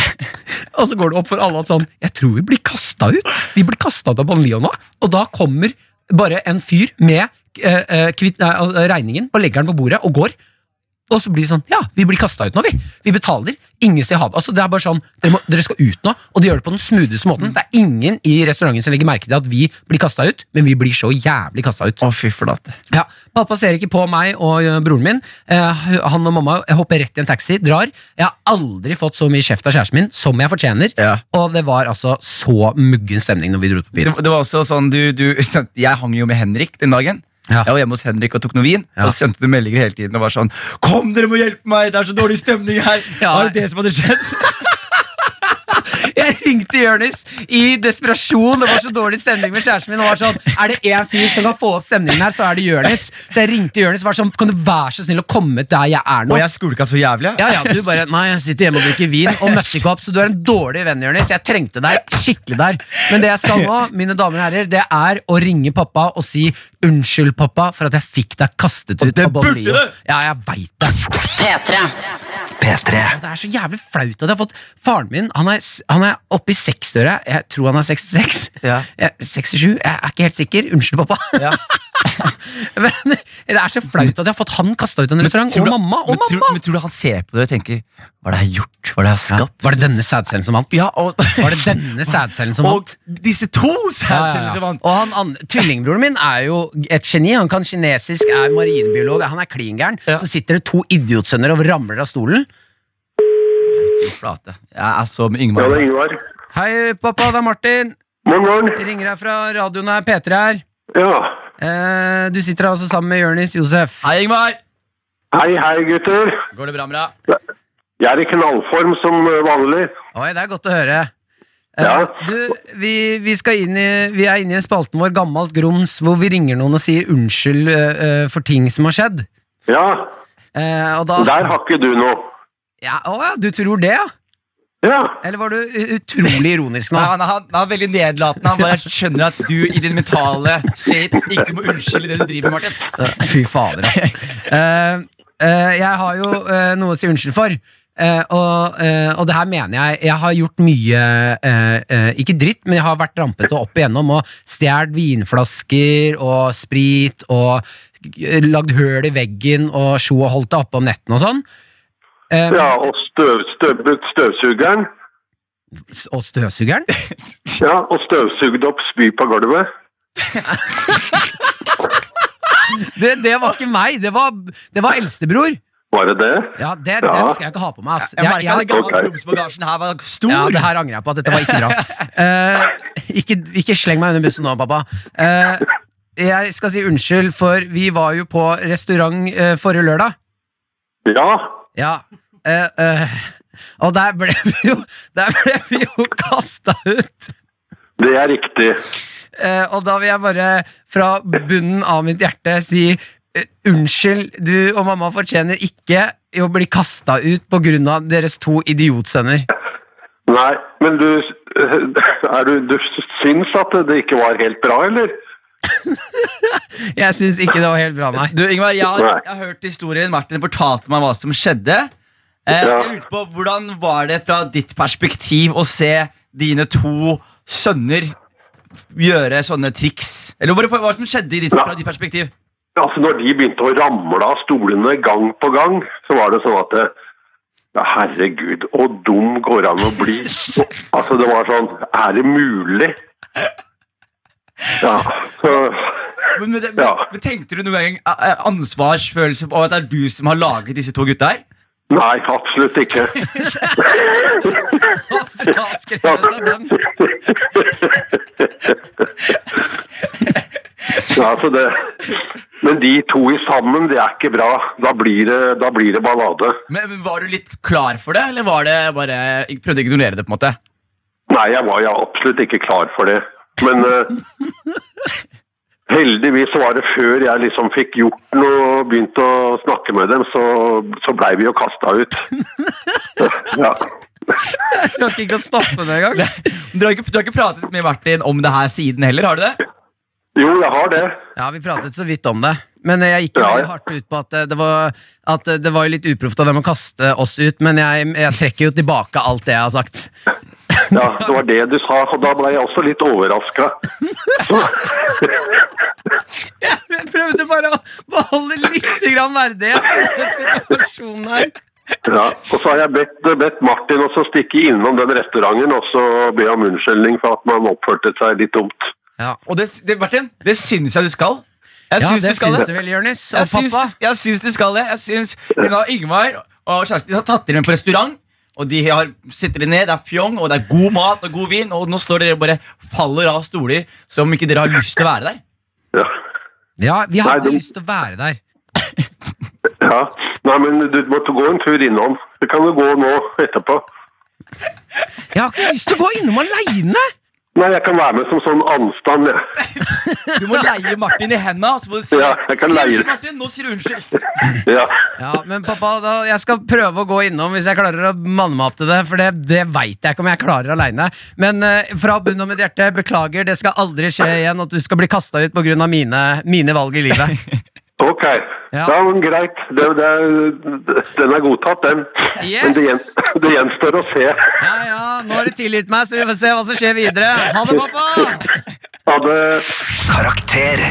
Speaker 3: og så går det opp for alle at sånn Jeg tror vi blir kasta ut. Vi blir kasta ut av Bon Leo nå. Og da kommer bare en fyr med eh, eh, kvitt, nei, eh, regningen og legger den på bordet og går. Og så blir det sånn Ja, vi blir kasta ut nå, vi. Vi betaler. Ingen sier ha det. Altså, det er bare sånn dere, må, dere skal ut nå, og de gjør det på den smootheste måten. Det er ingen i restauranten som legger merke til at vi blir kasta ut, men vi blir så jævlig kasta ut.
Speaker 2: Å, fy flate.
Speaker 3: Ja, Pappa ser ikke på meg og ø, broren min. Eh, han og mamma hopper rett i en taxi, drar. Jeg har aldri fått så mye kjeft av kjæresten min som jeg fortjener.
Speaker 2: Ja.
Speaker 3: Og det var altså så muggen stemning når vi dro ut på
Speaker 2: Det,
Speaker 3: byen.
Speaker 2: det var også sånn, du, du, Jeg hang jo med Henrik den dagen.
Speaker 3: Ja.
Speaker 2: Jeg var hjemme hos Henrik og tok noe vin.
Speaker 3: Ja.
Speaker 2: Og så sendte du meldinger hele tiden og var sånn Kom, dere må hjelpe meg! Det er så dårlig stemning her!
Speaker 3: Ja.
Speaker 2: Var det det som hadde skjedd?
Speaker 3: Jeg ringte Jonis i desperasjon. Det var så dårlig stemning med kjæresten min. Og var sånn, er det én fyr som kan få opp stemningen her, så er det Jonis. Så jeg ringte Jonis og var sånn, kan du være så snill å komme der jeg er nå?
Speaker 2: Og jeg skulka så jævlig.
Speaker 3: Ja, ja, du bare Nei, jeg sitter hjemme og drikker vin og møtte ikke opp, så du er en dårlig venn, Jonis. Jeg trengte deg skikkelig der. Men det jeg skal nå, mine damer og herrer, det er å ringe pappa og si unnskyld, pappa, for at jeg fikk deg kastet ut
Speaker 2: det
Speaker 3: av Bon
Speaker 2: burde
Speaker 3: Lio.
Speaker 2: du!
Speaker 3: Ja, jeg veit det.
Speaker 7: P3.
Speaker 5: P3.
Speaker 3: Og Det er så jævlig flaut at jeg har fått Faren min han er, han er oppe i 60-åra. Jeg tror han er 66.
Speaker 2: Ja.
Speaker 3: Jeg- 67? Jeg er ikke helt sikker. Unnskyld, pappa. men det er så flaut at jeg har fått han kasta ut av en restaurant. Og
Speaker 2: Tror du-
Speaker 3: mamma! Og
Speaker 2: men,
Speaker 3: mamma!
Speaker 2: Tror, men tror du han ser på det og tenker Hva er det jeg har gjort? Hva er det jeg har
Speaker 3: Ja.
Speaker 2: skapt?
Speaker 3: Var det denne sædcellen som vant?
Speaker 2: Ja, og,
Speaker 3: Var det denne sædcellen som vant?
Speaker 2: og disse to sædcellene som vant!
Speaker 3: Og han, an- Tvillingbroren min er jo et geni. Han kan kinesisk, er marinbiolog, han er klin gæren.
Speaker 2: Ja.
Speaker 3: Så sitter det to idiotsønner og ramler av stolen.
Speaker 2: Flate. Jeg er så med Yngmar.
Speaker 6: Ja, det er Ingvar.
Speaker 3: Hei, pappa, det er Martin.
Speaker 6: God morgen.
Speaker 3: Ringer deg fra radioen her, P3 her.
Speaker 6: Ja.
Speaker 3: Eh, du sitter her også sammen med Jonis Josef.
Speaker 2: Hei, Yngmar!
Speaker 6: Hei, hei, gutter.
Speaker 2: Går det bra med deg?
Speaker 6: Jeg er i knallform som eh, vanlig.
Speaker 3: Oi, det er godt å høre. Eh,
Speaker 6: Ja.
Speaker 3: Du, vi, vi, skal inn i, vi er inne i spalten vår Gammalt grums, hvor vi ringer noen og sier unnskyld eh, eh, for ting som har skjedd.
Speaker 6: Ja,
Speaker 3: Eh, og da
Speaker 6: der har ikke du noe.
Speaker 3: ja, Å ja, du tror det, ja?
Speaker 6: Ja.
Speaker 3: Eller var du u- utrolig ironisk nå?
Speaker 2: Nei, han, er- han, han er veldig nedlatende. Han bare skjønner at du i din mentale state ikke må unnskylde det du driver med, Martin.
Speaker 3: Fy fader, ass. Eh, eh, jeg har jo eh, noe å si unnskyld for. Eh, og, eh, og det her mener jeg. Jeg har gjort mye eh, eh, Ikke dritt, men jeg har vært rampete opp igjennom og stjålet vinflasker og sprit og eh, lagd høl i veggen og sjo og holdt det oppe om nettene og sånn. Eh, men-
Speaker 6: Ja, og støv, støvbrutt støvsugeren.
Speaker 3: s- og støvsugeren.
Speaker 6: Ja, og støvsugd opp spy på gulvet.
Speaker 3: Det, det var ikke meg, det var, det var eldstebror.
Speaker 6: Var det det?
Speaker 3: Ja, det,
Speaker 6: Ja.
Speaker 3: Den skal jeg ikke ha på meg. Ass.
Speaker 2: Jeg merka den gamle
Speaker 6: Ok.
Speaker 2: krumsbagasjen her var stor.
Speaker 3: Ja, det her angrer jeg på. at Dette var ikke bra. Eh, ikke, ikke sleng meg under bussen nå, pappa. Eh, jeg skal si unnskyld, for vi var jo på restaurant eh, forrige lørdag.
Speaker 6: Ja.
Speaker 3: Ja. eh, eh, og der ble vi jo Der ble vi jo kasta ut.
Speaker 6: Det er riktig.
Speaker 3: Eh, og da vil jeg bare fra bunnen av mitt hjerte si eh, unnskyld. Du og mamma fortjener ikke å bli kasta ut pga. deres to idiotsønner.
Speaker 8: Nei, men du, er du, du syns at det ikke var helt bra, eller?
Speaker 3: Jeg syns ikke det var helt bra, nei.
Speaker 2: Du, Ingvar, jeg har,
Speaker 8: Nei.
Speaker 2: jeg har hørt historien. Martin fortalte meg hva som skjedde. Eh,
Speaker 8: Ja.
Speaker 2: Jeg lurte på, Hvordan var det fra ditt perspektiv å se dine to sønner gjøre sånne triks? Eller bare, Hva som skjedde i ditt,
Speaker 8: Ja.
Speaker 2: fra ditt perspektiv?
Speaker 8: Altså, når de begynte å ramle av stolene gang på gang, så var det sånn at det, ja, herregud, og dum går an å bli. Altså, det var sånn, er det mulig? Ja, så,
Speaker 2: Men, men, men,
Speaker 8: Ja.
Speaker 2: men Tenkte du noen gang eh, ansvarsfølelse på at det er du som har laget disse to gutta her?
Speaker 8: nei, absolutt ikke.
Speaker 3: Bra skrevet av den.
Speaker 8: Ja, altså det, men de to i sammen, det er ikke bra. Da blir det, da blir det ballade.
Speaker 2: Men, men Var du litt klar for det, eller var det bare, jeg prøvde å ignorere det? på en måte?
Speaker 8: Nei, jeg var ja, absolutt ikke klar for det. Men eh, heldigvis så var det før jeg liksom fikk gjort noe og begynte å snakke med dem, så, så blei vi jo kasta ut. ja.
Speaker 3: Klarte ikke å stoppe det engang.
Speaker 2: Du har, ikke, du har ikke pratet med Martin om det her siden heller? har du det?
Speaker 8: Jo, jeg har det.
Speaker 3: Ja, vi pratet så vidt om det. Men eh, jeg gikk jo
Speaker 8: Ja,
Speaker 3: veldig
Speaker 8: ja.
Speaker 3: hardt ut på at eh, det var, at eh, det var jo litt uproft av dem å kaste oss ut, men jeg, jeg trekker jo tilbake alt det jeg har sagt.
Speaker 8: Ja, Det var det du sa, og da blei jeg også litt overraska.
Speaker 3: Jeg prøvde bare å beholde litt grann verdighet i den situasjonen her.
Speaker 8: Ja. Og så har jeg bedt, bedt Martin også stikke innom den restauranten og så be om unnskyldning for at man oppførte seg litt dumt.
Speaker 2: Og det, det, Martin, det syns jeg du skal. Jeg
Speaker 3: Ja,
Speaker 2: syns
Speaker 3: det
Speaker 2: du skal
Speaker 3: syns
Speaker 2: det.
Speaker 3: du vel, Jonis?
Speaker 2: Jeg
Speaker 3: Og
Speaker 2: syns,
Speaker 3: pappa?
Speaker 2: jeg syns du skal det. Jeg syns Hun og Ingvar og kjæresten de har tatt dere med på restaurant. Og de har, sitter dere ned, det er fjong, og det er god mat og god vin. Og nå står dere og bare faller av stoler som ikke dere har lyst til å være der.
Speaker 8: Ja.
Speaker 3: Ja, vi hadde
Speaker 8: Nei, du-
Speaker 3: lyst til å være der.
Speaker 8: ja. Nei, men du måtte gå en tur innom. Det kan du gå nå etterpå.
Speaker 3: Jeg har ikke lyst til å gå innom aleine!
Speaker 8: Nei, jeg kan være med som sånn anstand. jeg.
Speaker 2: Du må leie Martin i henda. Så må du si,
Speaker 8: Ja, jeg kan
Speaker 2: si
Speaker 8: leie
Speaker 2: unnskyld,
Speaker 8: det.
Speaker 2: Martin, nå sier du unnskyld.
Speaker 8: Ja.
Speaker 3: Ja, men pappa, da, jeg skal prøve å gå innom hvis jeg klarer å manne meg opp til det, for det, det veit jeg ikke om jeg klarer aleine. Men eh, fra bunnen av mitt hjerte, beklager, det skal aldri skje igjen at du skal bli kasta ut pga. Mine, mine valg i livet.
Speaker 8: Ok.
Speaker 3: Ja.
Speaker 8: Ja, men greit. Det, det, den er godtatt, den.
Speaker 3: Yes.
Speaker 8: Men det, gjen, det gjenstår å se.
Speaker 3: Ja, ja, nå har du tilgitt meg, så vi får se hva som skjer videre. Ha det, pappa!
Speaker 8: Ha det.
Speaker 1: Karakter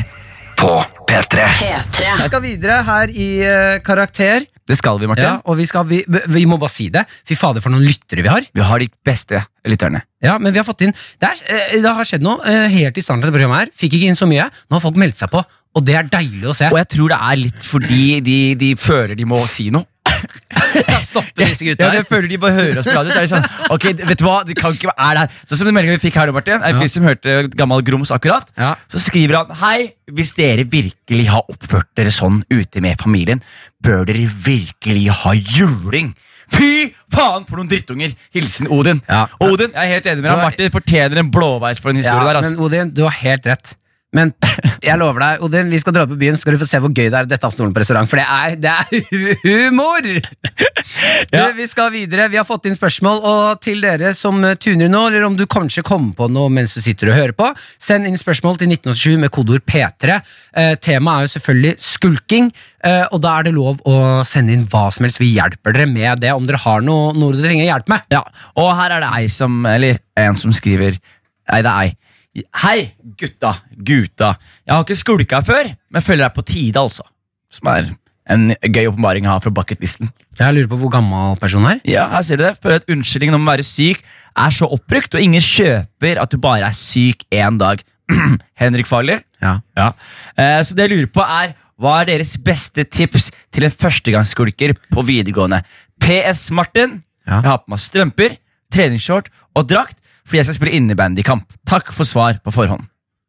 Speaker 1: på P3.
Speaker 5: P3.
Speaker 3: Vi skal videre her i eh, Karakter,
Speaker 2: Det skal vi, Martin.
Speaker 3: ja, og vi, skal, vi, vi må bare si det. Fy fader, for noen lyttere vi har.
Speaker 2: Vi har de beste lytterne.
Speaker 3: Ja, men vi har fått inn Det, er, eh, det har skjedd noe eh, helt i starten av det programmet her. Fikk ikke inn så mye. Nå har folk meldt seg på, og det er deilig å se.
Speaker 2: Og jeg tror det er litt fordi de, de føler de må si noe.
Speaker 3: Stoppe disse
Speaker 2: Ja,
Speaker 3: gutta
Speaker 2: men jeg
Speaker 3: her.
Speaker 2: føler de bare hører oss på radio. Så er det sånn, ok, vet du hva, det kan ikke være er det her Sånn som den meldingen vi fikk her, nå, Martin. En fyr som hørte Gammal Grums akkurat.
Speaker 3: Ja.
Speaker 2: Så skriver han Hei, hvis dere virkelig har oppført dere sånn ute med familien, bør dere virkelig ha juling. Fy faen for noen drittunger! Hilsen Odin.
Speaker 3: Ja.
Speaker 2: Og Odin, jeg er helt enig med deg. Martin fortjener en blåveis for den
Speaker 3: Ja,
Speaker 2: historien der.
Speaker 3: men
Speaker 2: Altså.
Speaker 3: Odin, du har helt rett. Men jeg lover deg, Odin, vi skal dra på byen, så skal du få se hvor gøy det er å dette av stolen på restaurant. For det er, det er hu- humor!
Speaker 2: Ja.
Speaker 3: Du, vi skal videre. Vi har fått inn spørsmål, og til dere som eh, tuner nå, eller om du kanskje kommer på noe mens du sitter og hører på, send inn spørsmål til 1987 med kodeord P3. Eh, temaet er jo selvfølgelig skulking, eh, og da er det lov å sende inn hva som helst. Vi hjelper dere med det, om dere har noe, noe dere trenger hjelp med.
Speaker 2: Ja, og her er det ei som Eller en som skriver Nei, det er ei. Hei, gutta, gutta. Jeg har ikke skulka før, men føler deg på tide, altså. Som er en gøy åpenbaring å ha fra bucketlisten.
Speaker 3: Jeg lurer på hvor gammel personen er.
Speaker 2: Ja, her ser du det. Føler at unnskyldningen om å være syk er så oppbrukt, og ingen kjøper at du bare er syk én dag. Henrik Farley.
Speaker 3: Ja.
Speaker 2: Eh, så det jeg lurer på, er hva er deres beste tips til en førstegangsskulker på videregående? PS Martin.
Speaker 3: Ja.
Speaker 2: Jeg har på meg strømper, treningsshort og drakt fordi jeg skal spille innebandykamp. Takk for svar på forhånd.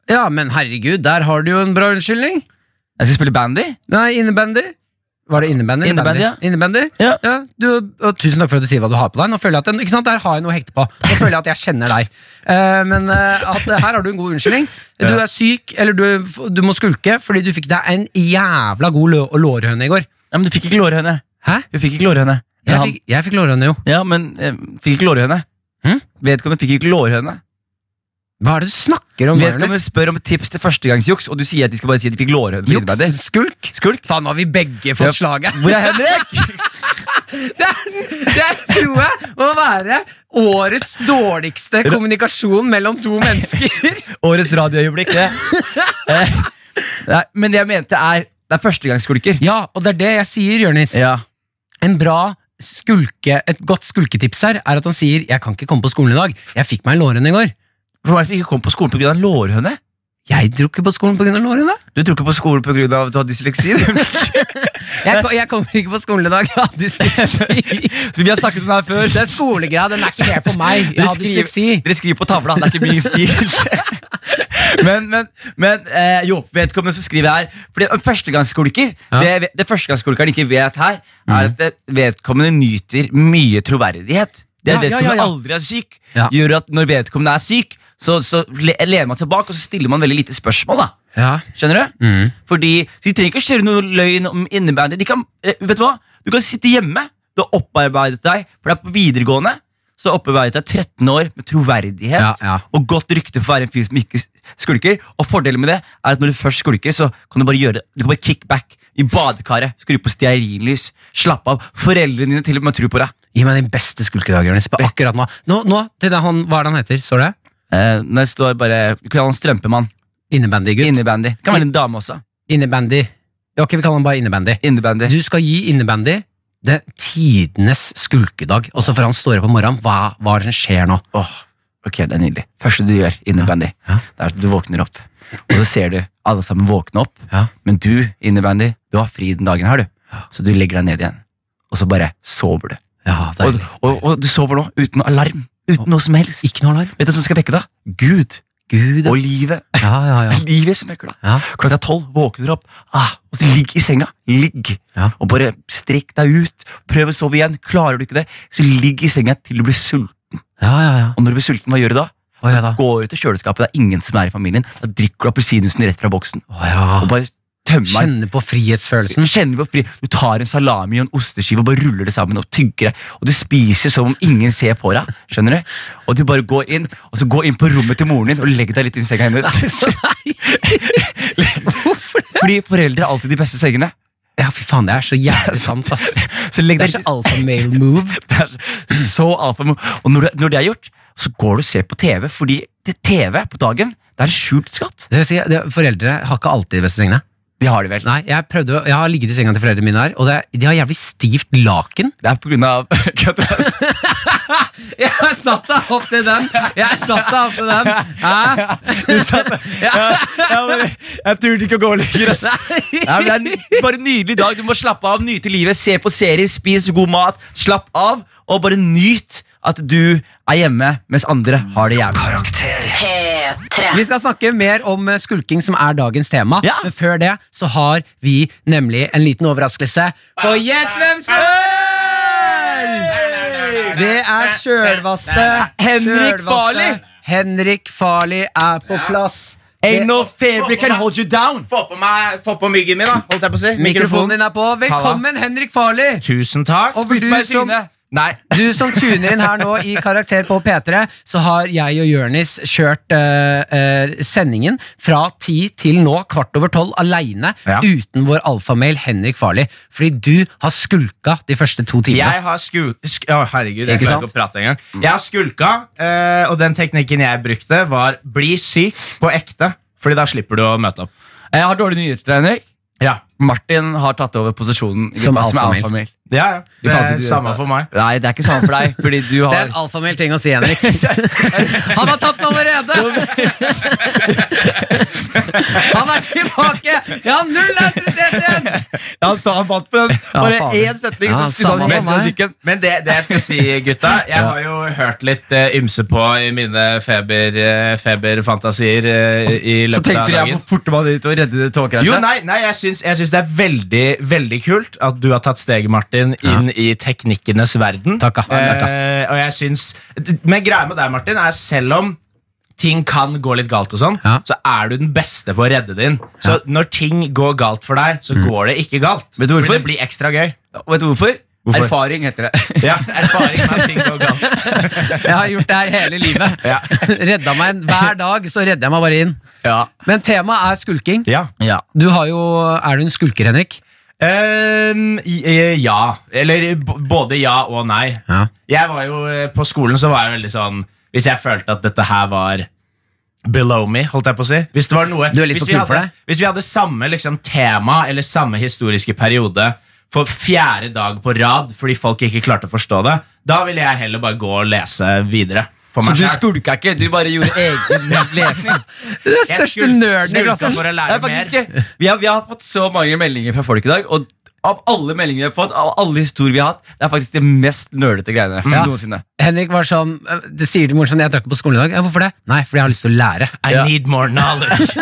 Speaker 3: Ja, men herregud, der har du jo en bra unnskyldning.
Speaker 2: Jeg skal spille bandy.
Speaker 3: Nei, innebandy. Var det innebandy? eller
Speaker 2: Innebandy,
Speaker 3: bandy?
Speaker 2: ja.
Speaker 3: Innebandy?
Speaker 2: Ja.
Speaker 3: du, og tusen takk for at du sier hva du har på deg. Nå føler jeg at, ikke sant, Der har jeg noe å hekte på. Nå føler jeg at jeg kjenner deg. Eh, men eh, at, eh, her har du en god unnskyldning. Du er syk, eller du, du må skulke fordi du fikk deg en jævla god lø lårhøne i går.
Speaker 2: Ja, men du fikk ikke lårhøne.
Speaker 3: Hæ?
Speaker 2: Du fikk ikke lårhøne. Men
Speaker 3: Jeg
Speaker 2: han-
Speaker 3: fikk, jeg fikk lårhøne, jo.
Speaker 2: Ja, men eh, fikk ikke lårhøne.
Speaker 3: Hm?
Speaker 2: Vedkommende fikk ikke lårhøne.
Speaker 3: Hva er det du snakker om?
Speaker 2: Vedkommende
Speaker 3: Jonas?
Speaker 2: spør om tips til førstegangsjuks, og du sier at de skal bare si at de fikk lårhøne. på innebandy.
Speaker 3: Juks? Skulk?
Speaker 2: Skulk?
Speaker 3: Faen, nå har vi begge
Speaker 2: Ja.
Speaker 3: fått slaget.
Speaker 2: Hvor er Henrik?
Speaker 3: Det, er, det er, tror jeg må være årets dårligste kommunikasjon mellom to mennesker.
Speaker 2: Årets radioøyeblikk, det. Eh, Nei, men det jeg mente er Det er førstegangsskulker.
Speaker 3: Ja, og det er det jeg sier, Jørnis.
Speaker 2: Ja.
Speaker 3: En bra skulke, Et godt skulketips her er at han sier 'jeg kan ikke komme på skolen i dag'. 'Jeg fikk meg en lårhøne i går'.
Speaker 2: Hvorfor er det som ikke kom på skolen pga. lårhøne?
Speaker 3: Jeg dro ikke på skolen pga. lårhøne.
Speaker 2: Du tror ikke på skolen pga. at du har dysleksi?
Speaker 3: Jeg, ko- jeg kommer ikke på skolen i dag. Jeg har dysleksi.
Speaker 2: Så vi har snakket om det her før.
Speaker 3: Den skolegreia den er ikke helt for meg. Jeg
Speaker 2: Dere
Speaker 3: har
Speaker 2: skriver-
Speaker 3: dysleksi.
Speaker 2: Dere skriver på tavla, det er ikke min stil. men men, men eh, jo, vedkommende som skriver her Fordi en førstegangsskulker
Speaker 3: Ja. Mm.
Speaker 2: Det, det førstegangsskulkeren ikke vet her, er at det- vedkommende nyter mye troverdighet. Det at
Speaker 3: Ja, ja, ja,
Speaker 2: vedkommende
Speaker 3: ja.
Speaker 2: aldri er syk,
Speaker 3: Ja.
Speaker 2: gjør at når vedkommende er syk, så, så le- lener man seg bak og så stiller man veldig lite spørsmål. da
Speaker 3: Ja.
Speaker 2: Skjønner du?
Speaker 3: Mm.
Speaker 2: Fordi så De trenger ikke å kjøre noe løgn om innebandy. De kan, eh, vet Du hva? Du kan sitte hjemme. Du har opparbeidet deg For det er på videregående Så har du opparbeidet deg 13 år med troverdighet
Speaker 3: Ja, ja.
Speaker 2: og godt rykte for å være en fyr som ikke s- skulker. Og Fordelen med det er at når du først skulker, så kan du bare gjøre det. Du kan bare kick back i badekaret, skru på stearinlys, slappe av. Foreldrene dine til og med tror på deg.
Speaker 3: Gi meg din beste skulkedag, Jonis. På akkurat nå. Nå, nå til det han, Hva er det han heter? Står det?
Speaker 2: Eh, når jeg står bare Vi kaller han strømpemann.
Speaker 3: Innebandygutt.
Speaker 2: Innebandy. Det Kan være en dame også.
Speaker 3: Innebandy. Ja, Ok, vi kaller han bare innebandy.
Speaker 2: Innebandy.
Speaker 3: Du skal gi innebandy det tidenes skulkedag. Og så får han stå opp om morgenen. Hva, hva er det som skjer nå?
Speaker 2: Åh, ok, det er nydelig. Første du gjør innebandy,
Speaker 3: Ja.
Speaker 2: det er at du våkner opp. Og så ser du alle sammen våkne opp,
Speaker 3: Ja.
Speaker 2: men du innebandy, du har fri den dagen her, du. Så du legger deg ned igjen, og så bare sover du.
Speaker 3: Ja,
Speaker 2: Og,
Speaker 3: deilig.
Speaker 2: og, og du sover nå uten noe alarm, uten noe som helst.
Speaker 3: Ikke noe alarm.
Speaker 2: Vet du hvem som skal vekke deg? Gud
Speaker 3: Gud.
Speaker 2: og livet.
Speaker 3: Ja, ja, ja.
Speaker 2: Livet som vekker deg.
Speaker 3: ja.
Speaker 2: Klokka tolv våkner du opp, ah, og så ligg i senga. Ligg.
Speaker 3: Ja.
Speaker 2: Og bare strekk deg ut. Prøv å sove igjen. Klarer du ikke det, så ligg i senga til du blir sulten.
Speaker 3: Ja, ja, ja.
Speaker 2: Og når du blir sulten, hva gjør du da?
Speaker 3: Å ja da.
Speaker 2: går ut til kjøleskapet, det er ingen som er i familien, da drikker du appelsinjuicen rett fra boksen.
Speaker 3: Å ja.
Speaker 2: Og bare tømmer den.
Speaker 3: Kjenne på frihetsfølelsen.
Speaker 2: Kjenner på fri. Du tar en salami og en osteskive og bare ruller det sammen og tygger det. Og du spiser som om ingen ser på deg. Skjønner du? Og du bare går inn Og så gå inn på rommet til moren din og legg deg litt inn i senga hennes. Fordi foreldre er alltid de beste sengene.
Speaker 3: Ja, fy faen, det er så jævlig sant, ass.
Speaker 2: Så legg
Speaker 3: Det
Speaker 2: deg
Speaker 3: er så alfa male move.
Speaker 2: Det er så alfa. Og når det, når det er gjort, så går du og ser på TV, fordi det TV på dagen det er en skjult skatt.
Speaker 3: Så jeg sier, det, foreldre har ikke alltid de beste sengene.
Speaker 2: Det har de vel.
Speaker 3: Nei, jeg, prøvde, å- jeg har ligget i senga til foreldrene mine her, og det, de har jævlig stivt laken.
Speaker 2: Det er på grunn av
Speaker 3: Jeg satt deg opp til den! Jeg satt deg opp til den!
Speaker 2: Du satt ja, jeg, bare, jeg turte ikke å gå lenger. ass. Nei, men det er en ny- bare en nydelig dag. Du må slappe av, nyte livet, se på serier, spis god mat. Slapp av, og bare nyt at du er hjemme mens andre har det jævlig.
Speaker 9: Karakter.
Speaker 5: P3.
Speaker 3: Vi skal snakke mer om eh, skulking, som er dagens tema.
Speaker 2: Ja.
Speaker 3: Men før det så har vi nemlig en liten overraskelse. For gjett hvem som hører! Det er sjølvaste
Speaker 2: Henrik
Speaker 3: sjølvaste
Speaker 2: Farley.
Speaker 3: Henrik Farley er på plass.
Speaker 2: Ain't no favorite can hold you down.
Speaker 10: Få på, meg, få på myggen min, da. Holdt jeg på å si.
Speaker 3: Mikrofonen din er på. Velkommen, Henrik Farley!
Speaker 10: Tusen takk.
Speaker 3: Og du
Speaker 2: meg i
Speaker 3: som,
Speaker 2: trynet.
Speaker 10: Nei.
Speaker 3: du som tuner inn her nå i Karakter på P3, så har jeg og Jørnis kjørt eh, eh, sendingen fra ti til nå kvart over tolv aleine
Speaker 10: Ja.
Speaker 3: uten vår alfamail Henrik Farley. Fordi du har skulka de første to timene.
Speaker 10: Jeg har sku... sk å, herregud, jeg
Speaker 3: Ikke
Speaker 10: klarer
Speaker 3: sant?
Speaker 10: ikke å prate engang. Jeg har skulka, eh, og den teknikken jeg brukte, var bli syk på ekte. Fordi da slipper du å møte opp.
Speaker 2: Jeg har dårlige nyheter til deg, Henrik.
Speaker 10: Ja,
Speaker 2: Martin har tatt over posisjonen i
Speaker 3: Som
Speaker 2: gruppa som
Speaker 3: alfamil.
Speaker 2: alfamil.
Speaker 10: ja,
Speaker 2: Du
Speaker 10: Det
Speaker 2: fant ikke
Speaker 10: er
Speaker 2: det
Speaker 10: samme
Speaker 2: ut.
Speaker 10: for meg.
Speaker 2: Nei, det er ikke samme for deg, fordi du
Speaker 3: Det
Speaker 2: har
Speaker 3: er en alfamail ting å si, Henrik. Han har tapt den allerede! Han er tilbake! Jeg har null autoritet igjen!
Speaker 4: Han tar fatt på den. Bare
Speaker 3: faen.
Speaker 4: én setning,
Speaker 3: Ja,
Speaker 4: så snudde
Speaker 3: samme
Speaker 4: han helt
Speaker 3: for
Speaker 4: og
Speaker 3: meg.
Speaker 4: dykken.
Speaker 10: Men det, det jeg skal si, gutta Jeg har jo hørt litt eh, ymse på i mine feber, eh, feberfantasier eh, i
Speaker 4: Så
Speaker 10: løpet av
Speaker 4: tenkte jeg
Speaker 10: dagen.
Speaker 4: hvor fort man dit å redde det togkrasjet.
Speaker 10: Jo, nei, nei jeg, syns, jeg syns det er veldig veldig kult at du har tatt steget, Martin, inn i teknikkenes verden.
Speaker 3: Takk, ja. Takk, ja.
Speaker 10: Eh, og jeg syns Men greia med deg, Martin, er selv om ting kan gå litt galt, og sånn
Speaker 3: Ja.
Speaker 10: så er du den beste på å redde det inn. Så når ting går galt for deg,
Speaker 3: Mm.
Speaker 10: så går det ikke galt.
Speaker 4: Vet du
Speaker 10: Fordi
Speaker 4: hvorfor?
Speaker 10: Det blir ekstra gøy.
Speaker 4: Vet du hvorfor?
Speaker 10: Hvorfor?
Speaker 4: Erfaring heter det.
Speaker 10: Ja, erfaring med at ting går galt.
Speaker 3: Jeg har gjort det her hele livet.
Speaker 10: Ja.
Speaker 3: Redda meg en, Hver dag så redder jeg meg bare inn.
Speaker 10: Ja.
Speaker 3: Men temaet er skulking.
Speaker 10: Ja.
Speaker 3: Du har jo, Er du en skulker, Henrik?
Speaker 10: Ehm, i- eh, ja. Eller b- både ja og nei.
Speaker 3: Ja.
Speaker 10: Jeg var jo eh, På skolen så var jeg veldig sånn Hvis jeg følte at dette her var below me, holdt jeg på å si Hvis det var noe
Speaker 3: Du er litt
Speaker 10: hvis,
Speaker 3: for
Speaker 10: vi
Speaker 3: kul for
Speaker 10: hadde,
Speaker 3: det.
Speaker 10: hvis vi hadde samme liksom, tema eller samme historiske periode for fjerde dag på rad fordi folk ikke klarte å forstå det, da ville jeg heller bare gå og lese videre. For
Speaker 4: Så
Speaker 10: meg
Speaker 4: du
Speaker 10: selv.
Speaker 4: skulka ikke, du bare gjorde egen lesning.
Speaker 3: Du er den
Speaker 10: Jeg
Speaker 3: største
Speaker 10: skulka-
Speaker 3: nerden i
Speaker 10: skulka
Speaker 3: klassen.
Speaker 10: for å
Speaker 4: Det
Speaker 10: lære
Speaker 4: er
Speaker 10: mer.
Speaker 4: faktisk, ikke- vi, har, vi har fått så mange meldinger fra folk i dag, og av alle meldinger vi har fått, av alle historier vi har hatt, det er faktisk det mest nerdete greiene noensinne.
Speaker 3: Henrik var sånn eh, Det sier til moren sin Jeg drar ikke på skolen i dag. Ja, hvorfor det? Nei, fordi jeg har lyst til å lære.
Speaker 10: I need more knowledge.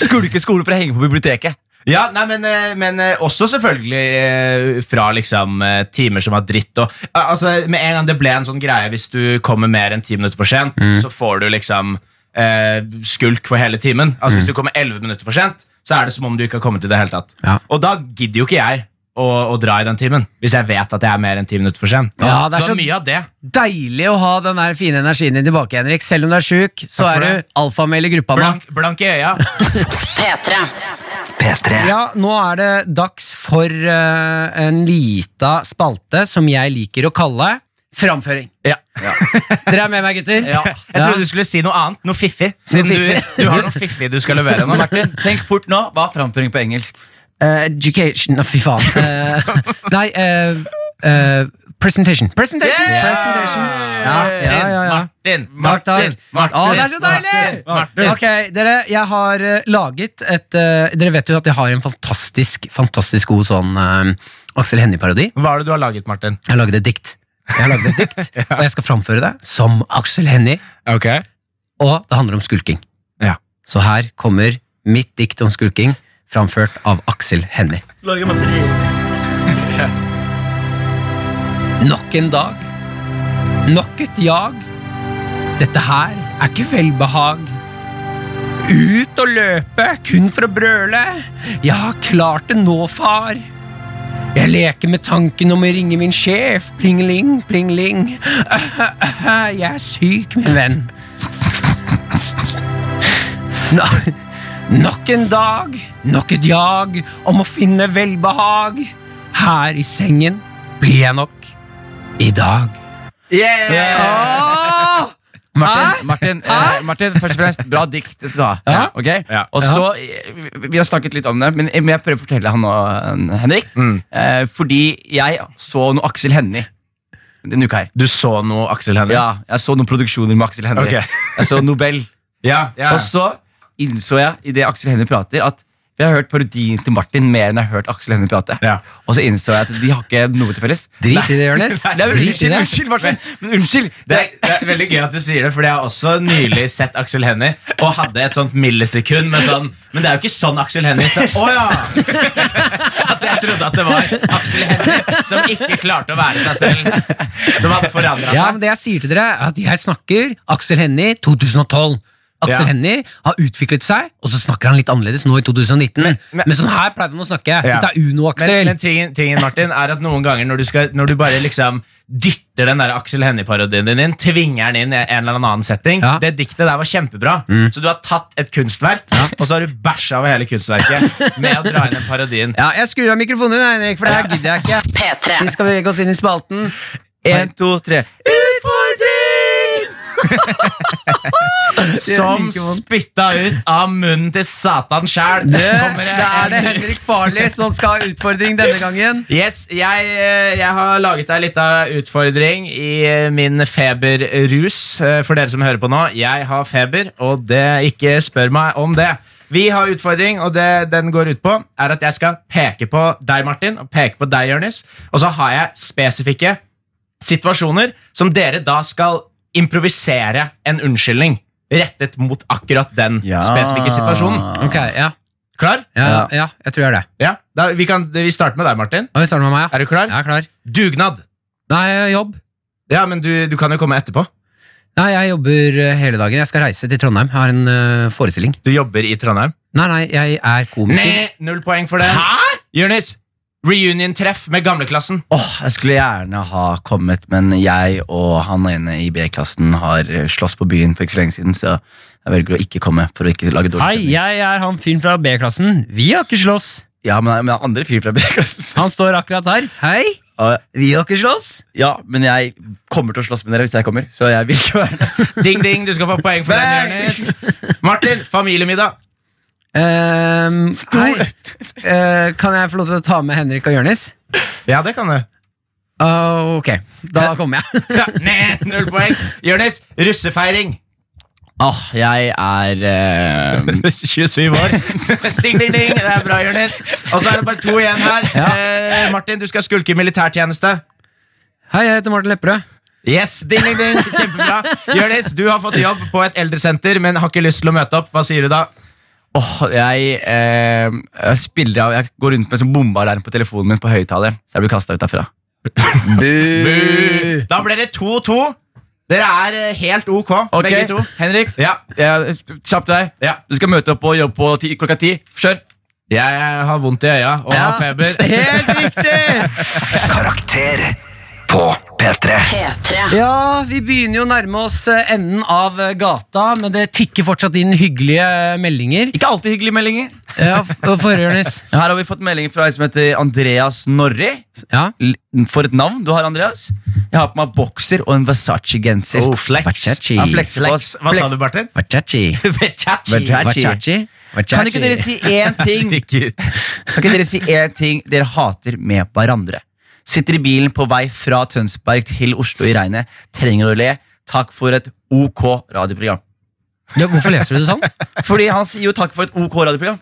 Speaker 4: Skulke skole for å henge på biblioteket.
Speaker 10: Ja, nei, men, eh, men eh, også selvfølgelig eh, fra liksom eh, timer som var dritt. Og, eh, altså, med en gang det ble en sånn greie hvis du kommer mer enn ti minutter for sent,
Speaker 3: Mm.
Speaker 10: så får du liksom eh, skulk for hele timen. Altså
Speaker 3: Mm.
Speaker 10: Hvis du kommer elleve minutter for sent, så er det som om du ikke har kommet i det hele tatt.
Speaker 3: Ja.
Speaker 10: Og da gidder jo ikke jeg å, å dra i den timen, hvis jeg vet at jeg er mer enn ti minutter for sent.
Speaker 3: Ja, det er så-
Speaker 10: mye av det.
Speaker 3: Deilig å ha den der fine energien din tilbake, Henrik. Selv om du er sjuk, så
Speaker 10: Takk for
Speaker 3: er
Speaker 10: det.
Speaker 3: du alfamel i gruppa nå.
Speaker 10: Blank, blank i øya.
Speaker 5: P3.
Speaker 1: P3.
Speaker 3: Ja, nå er det dags for eh, en lita spalte som jeg liker å kalle Framføring.
Speaker 10: Ja.
Speaker 3: Dere er med meg, gutter?
Speaker 10: Jeg trodde du skulle si noe annet. Noe fiffig. Siden Du, du har noe fiffig du skal levere nå, Martin.
Speaker 4: Tenk fort nå, hva er framføring på engelsk?
Speaker 3: Eh, education Å, fy faen. Eh, nei eh, eh, Presentation. Presentation! presentation. Ja, ja, ja, ja.
Speaker 10: Martin,
Speaker 3: Takk, takk.
Speaker 10: Martin, Martin.
Speaker 3: Å, det er så deilig! Ok, dere, jeg har eh, laget et eh, Dere vet jo at jeg har en fantastisk fantastisk god sånn eh, Aksel Hennie-parodi.
Speaker 10: Hva er det du har laget, Martin?
Speaker 3: Jeg har laget et dikt. Jeg har laget et dikt, Og jeg skal framføre det som Aksel Hennie,
Speaker 10: Ok
Speaker 3: og det handler om skulking.
Speaker 10: Ja.
Speaker 3: Så her kommer mitt dikt om skulking, framført av Aksel Hennie. Nok en dag. Nok et jag. Dette her er ikke velbehag. Ut og løpe, kun for å brøle. Jeg har klart det nå, far. Jeg leker med tanken om å ringe min sjef. Plingeling, plingeling. Jeg er syk, min venn. Nå, nok en dag, nok et jag om å finne velbehag. Her i sengen blir jeg nok i dag.
Speaker 4: Martin, Martin, eh, Martin, først og fremst, bra dikt. Det skal du ha.
Speaker 3: Ja.
Speaker 4: ok?
Speaker 10: Ja.
Speaker 4: Og så, eh, vi- Vi har snakket litt om det, men jeg- men jeg prøver å fortelle han nå, eh, Henrik.
Speaker 10: Mm.
Speaker 4: Eh, fordi jeg så noe Aksel Hennie denne uka her.
Speaker 10: Du så noe, Aksel Hennie?
Speaker 4: Ja, Jeg så noen produksjoner med Aksel Hennie.
Speaker 10: Ok.
Speaker 4: jeg så Nobel.
Speaker 10: ja, ja.
Speaker 4: Og så innså jeg i det Aksel Hennie prater, at jeg har hørt parodien til Martin mer enn jeg har hørt Aksel Hennie prate.
Speaker 10: Ja.
Speaker 4: Og så innså jeg at de har ikke noe til felles.
Speaker 3: Drit i det, Jonis.
Speaker 4: Nei, men
Speaker 3: Drit i
Speaker 4: unnskyld,
Speaker 3: det.
Speaker 4: unnskyld, Martin. Men unnskyld.
Speaker 10: Det, er, det er veldig gøy at du sier det, Fordi jeg har også nylig sett Aksel Hennie og hadde et sånt millisekund med sånn Men det er jo ikke sånn Aksel Hennie sta- Å ja! At jeg trodde at det var Aksel Hennie som ikke klarte å være seg selv. Som hadde forandra
Speaker 3: Ja,
Speaker 10: seg.
Speaker 3: men det jeg sier til dere er at jeg snakker Aksel Hennie 2012. Aksel
Speaker 10: Ja.
Speaker 3: Hennie har utviklet seg, og så snakker han litt annerledes nå i 2019. Men,
Speaker 10: men-
Speaker 3: sånn her pleide han å snakke.
Speaker 10: Ja.
Speaker 3: Dette er Uno,
Speaker 10: Men,
Speaker 3: Aksel.
Speaker 10: men tingen, tingen, Martin, er at noen ganger når du, skal, når du bare liksom dytter den der Aksel Hennie-parodien din inn, tvinger den inn i en eller annen setting
Speaker 3: Ja. Mm.
Speaker 10: Det diktet der var kjempebra. Så du har tatt et kunstverk, og så har du bæsja over hele kunstverket med å dra inn den parodien.
Speaker 3: ja, jeg skrur av mikrofonen din, Henrik, for det her gidder jeg ikke.
Speaker 5: P3.
Speaker 3: Vi skal bevege oss inn i spalten.
Speaker 4: En, to, tre.
Speaker 10: Som
Speaker 3: like vondt.
Speaker 10: spytta ut av munnen til Satan sjæl.
Speaker 3: Det, det er det Henrik Farli som skal ha utfordring denne gangen.
Speaker 10: Yes, jeg, eh, jeg har laget deg litt av utfordring i eh, min feberrus. eh, For dere som hører på nå, jeg har feber, og det ikke spør meg om det. Vi har utfordring, og det den går ut på, er at jeg skal peke på deg, Martin, og peke på deg, Jørnis, og så har jeg spesifikke situasjoner som dere da skal improvisere en unnskyldning rettet mot akkurat den spesifikke situasjonen.
Speaker 3: Ok, ja.
Speaker 10: Klar?
Speaker 3: Ja, ja. jeg tror jeg gjør det.
Speaker 10: Ja. Da, vi, kan, vi starter med deg, Martin.
Speaker 3: Og vi starter med meg, ja.
Speaker 10: Er du klar?
Speaker 3: Jeg er klar.
Speaker 10: Dugnad.
Speaker 3: Nei, jobb.
Speaker 10: Ja, men du, du kan jo komme etterpå.
Speaker 3: Nei, jeg jobber eh, hele dagen. Jeg skal reise til Trondheim. Jeg har en eh, forestilling.
Speaker 10: Du jobber i Trondheim.
Speaker 3: Nei, nei, jeg er komiker.
Speaker 10: Nei, null poeng for det.
Speaker 2: Hæ?
Speaker 10: Jonis, reunion-treff med gamleklassen.
Speaker 2: Åh, Jeg skulle gjerne ha kommet, men jeg og han ene i B-klassen har eh, slåss på byen for ikke så lenge siden, så jeg velger å ikke komme. for å ikke lage dårlig
Speaker 11: Hei,
Speaker 2: stemning.
Speaker 11: jeg er han fyren fra B-klassen. Vi har ikke slåss.
Speaker 2: Ja, men, men andre fyr fra B-klassen.
Speaker 11: Han står akkurat her. Hei.
Speaker 2: Ja,
Speaker 11: Vi har ikke slåss.
Speaker 2: Ja, men jeg kommer til å slåss med dere hvis jeg kommer, så jeg vil ikke være der.
Speaker 10: Ding, ding, du skal få poeng for
Speaker 2: Bang!
Speaker 10: den, Jonis. Martin, familiemiddag.
Speaker 3: Ehm, hei. Eh, kan jeg få lov til å ta med Henrik og Jørnis?
Speaker 10: Ja, det kan du.
Speaker 3: Ah, ok, da kommer jeg.
Speaker 10: Ja, nei, null poeng. Jonis, russefeiring.
Speaker 11: Ah,
Speaker 2: Åh, jeg er eh,
Speaker 10: Ehm. 27 år. ding, ding, ding. Det er bra, Jonis. Og så er det bare to igjen her. Eh, Martin, du skal skulke i militærtjeneste.
Speaker 3: Hei, jeg heter Martin Lepperød.
Speaker 10: Yes, ding, ding, ding. Kjempebra. Jonis, du har fått jobb på et eldresenter, men har ikke lyst til å møte opp. Hva sier du da?
Speaker 2: Åh, jeg, eh, jeg spiller av Jeg går rundt med som bombealarm på telefonen min på høyttaler, så jeg blir kasta ut derfra.
Speaker 10: Da ble det 2-2. Dere er eh, helt ok,
Speaker 2: Ok,
Speaker 10: begge to.
Speaker 2: Henrik,
Speaker 10: Ja,
Speaker 2: jeg, kjapp eh, deg.
Speaker 10: ja.
Speaker 2: Du skal møte opp og jobbe på ti, klokka ti. Kjør.
Speaker 10: Jeg eh, har vondt i øya og har feber.
Speaker 3: Helt riktig!
Speaker 12: Karakter på P3.
Speaker 5: P3.
Speaker 3: Ja, vi begynner jo å nærme oss eh, enden av eh, gata, men det tikker fortsatt inn hyggelige eh, meldinger.
Speaker 2: Ikke alltid hyggelige meldinger.
Speaker 3: Ja, f- forrige, Jørnis.
Speaker 2: Her har vi fått melding fra en som heter Andreas Norri.
Speaker 3: Ja.
Speaker 2: L- For et navn du har, Andreas. Jeg har på meg bokser og en Versace-genser.
Speaker 3: Oh, flex. Versace.
Speaker 2: Han flekser på oss.
Speaker 10: Hva sa du, Martin?
Speaker 3: Vachachi. Vachachi.
Speaker 2: Kan ikke dere si én ting? Kan ikke dere si én ting dere hater med hverandre? Sitter i bilen på vei fra Tønsberg til Oslo i regnet. Trenger å le. Takk for et ok radioprogram.
Speaker 3: ja, Hvorfor leser du det sånn?
Speaker 2: Fordi han sier jo takk for et ok radioprogram.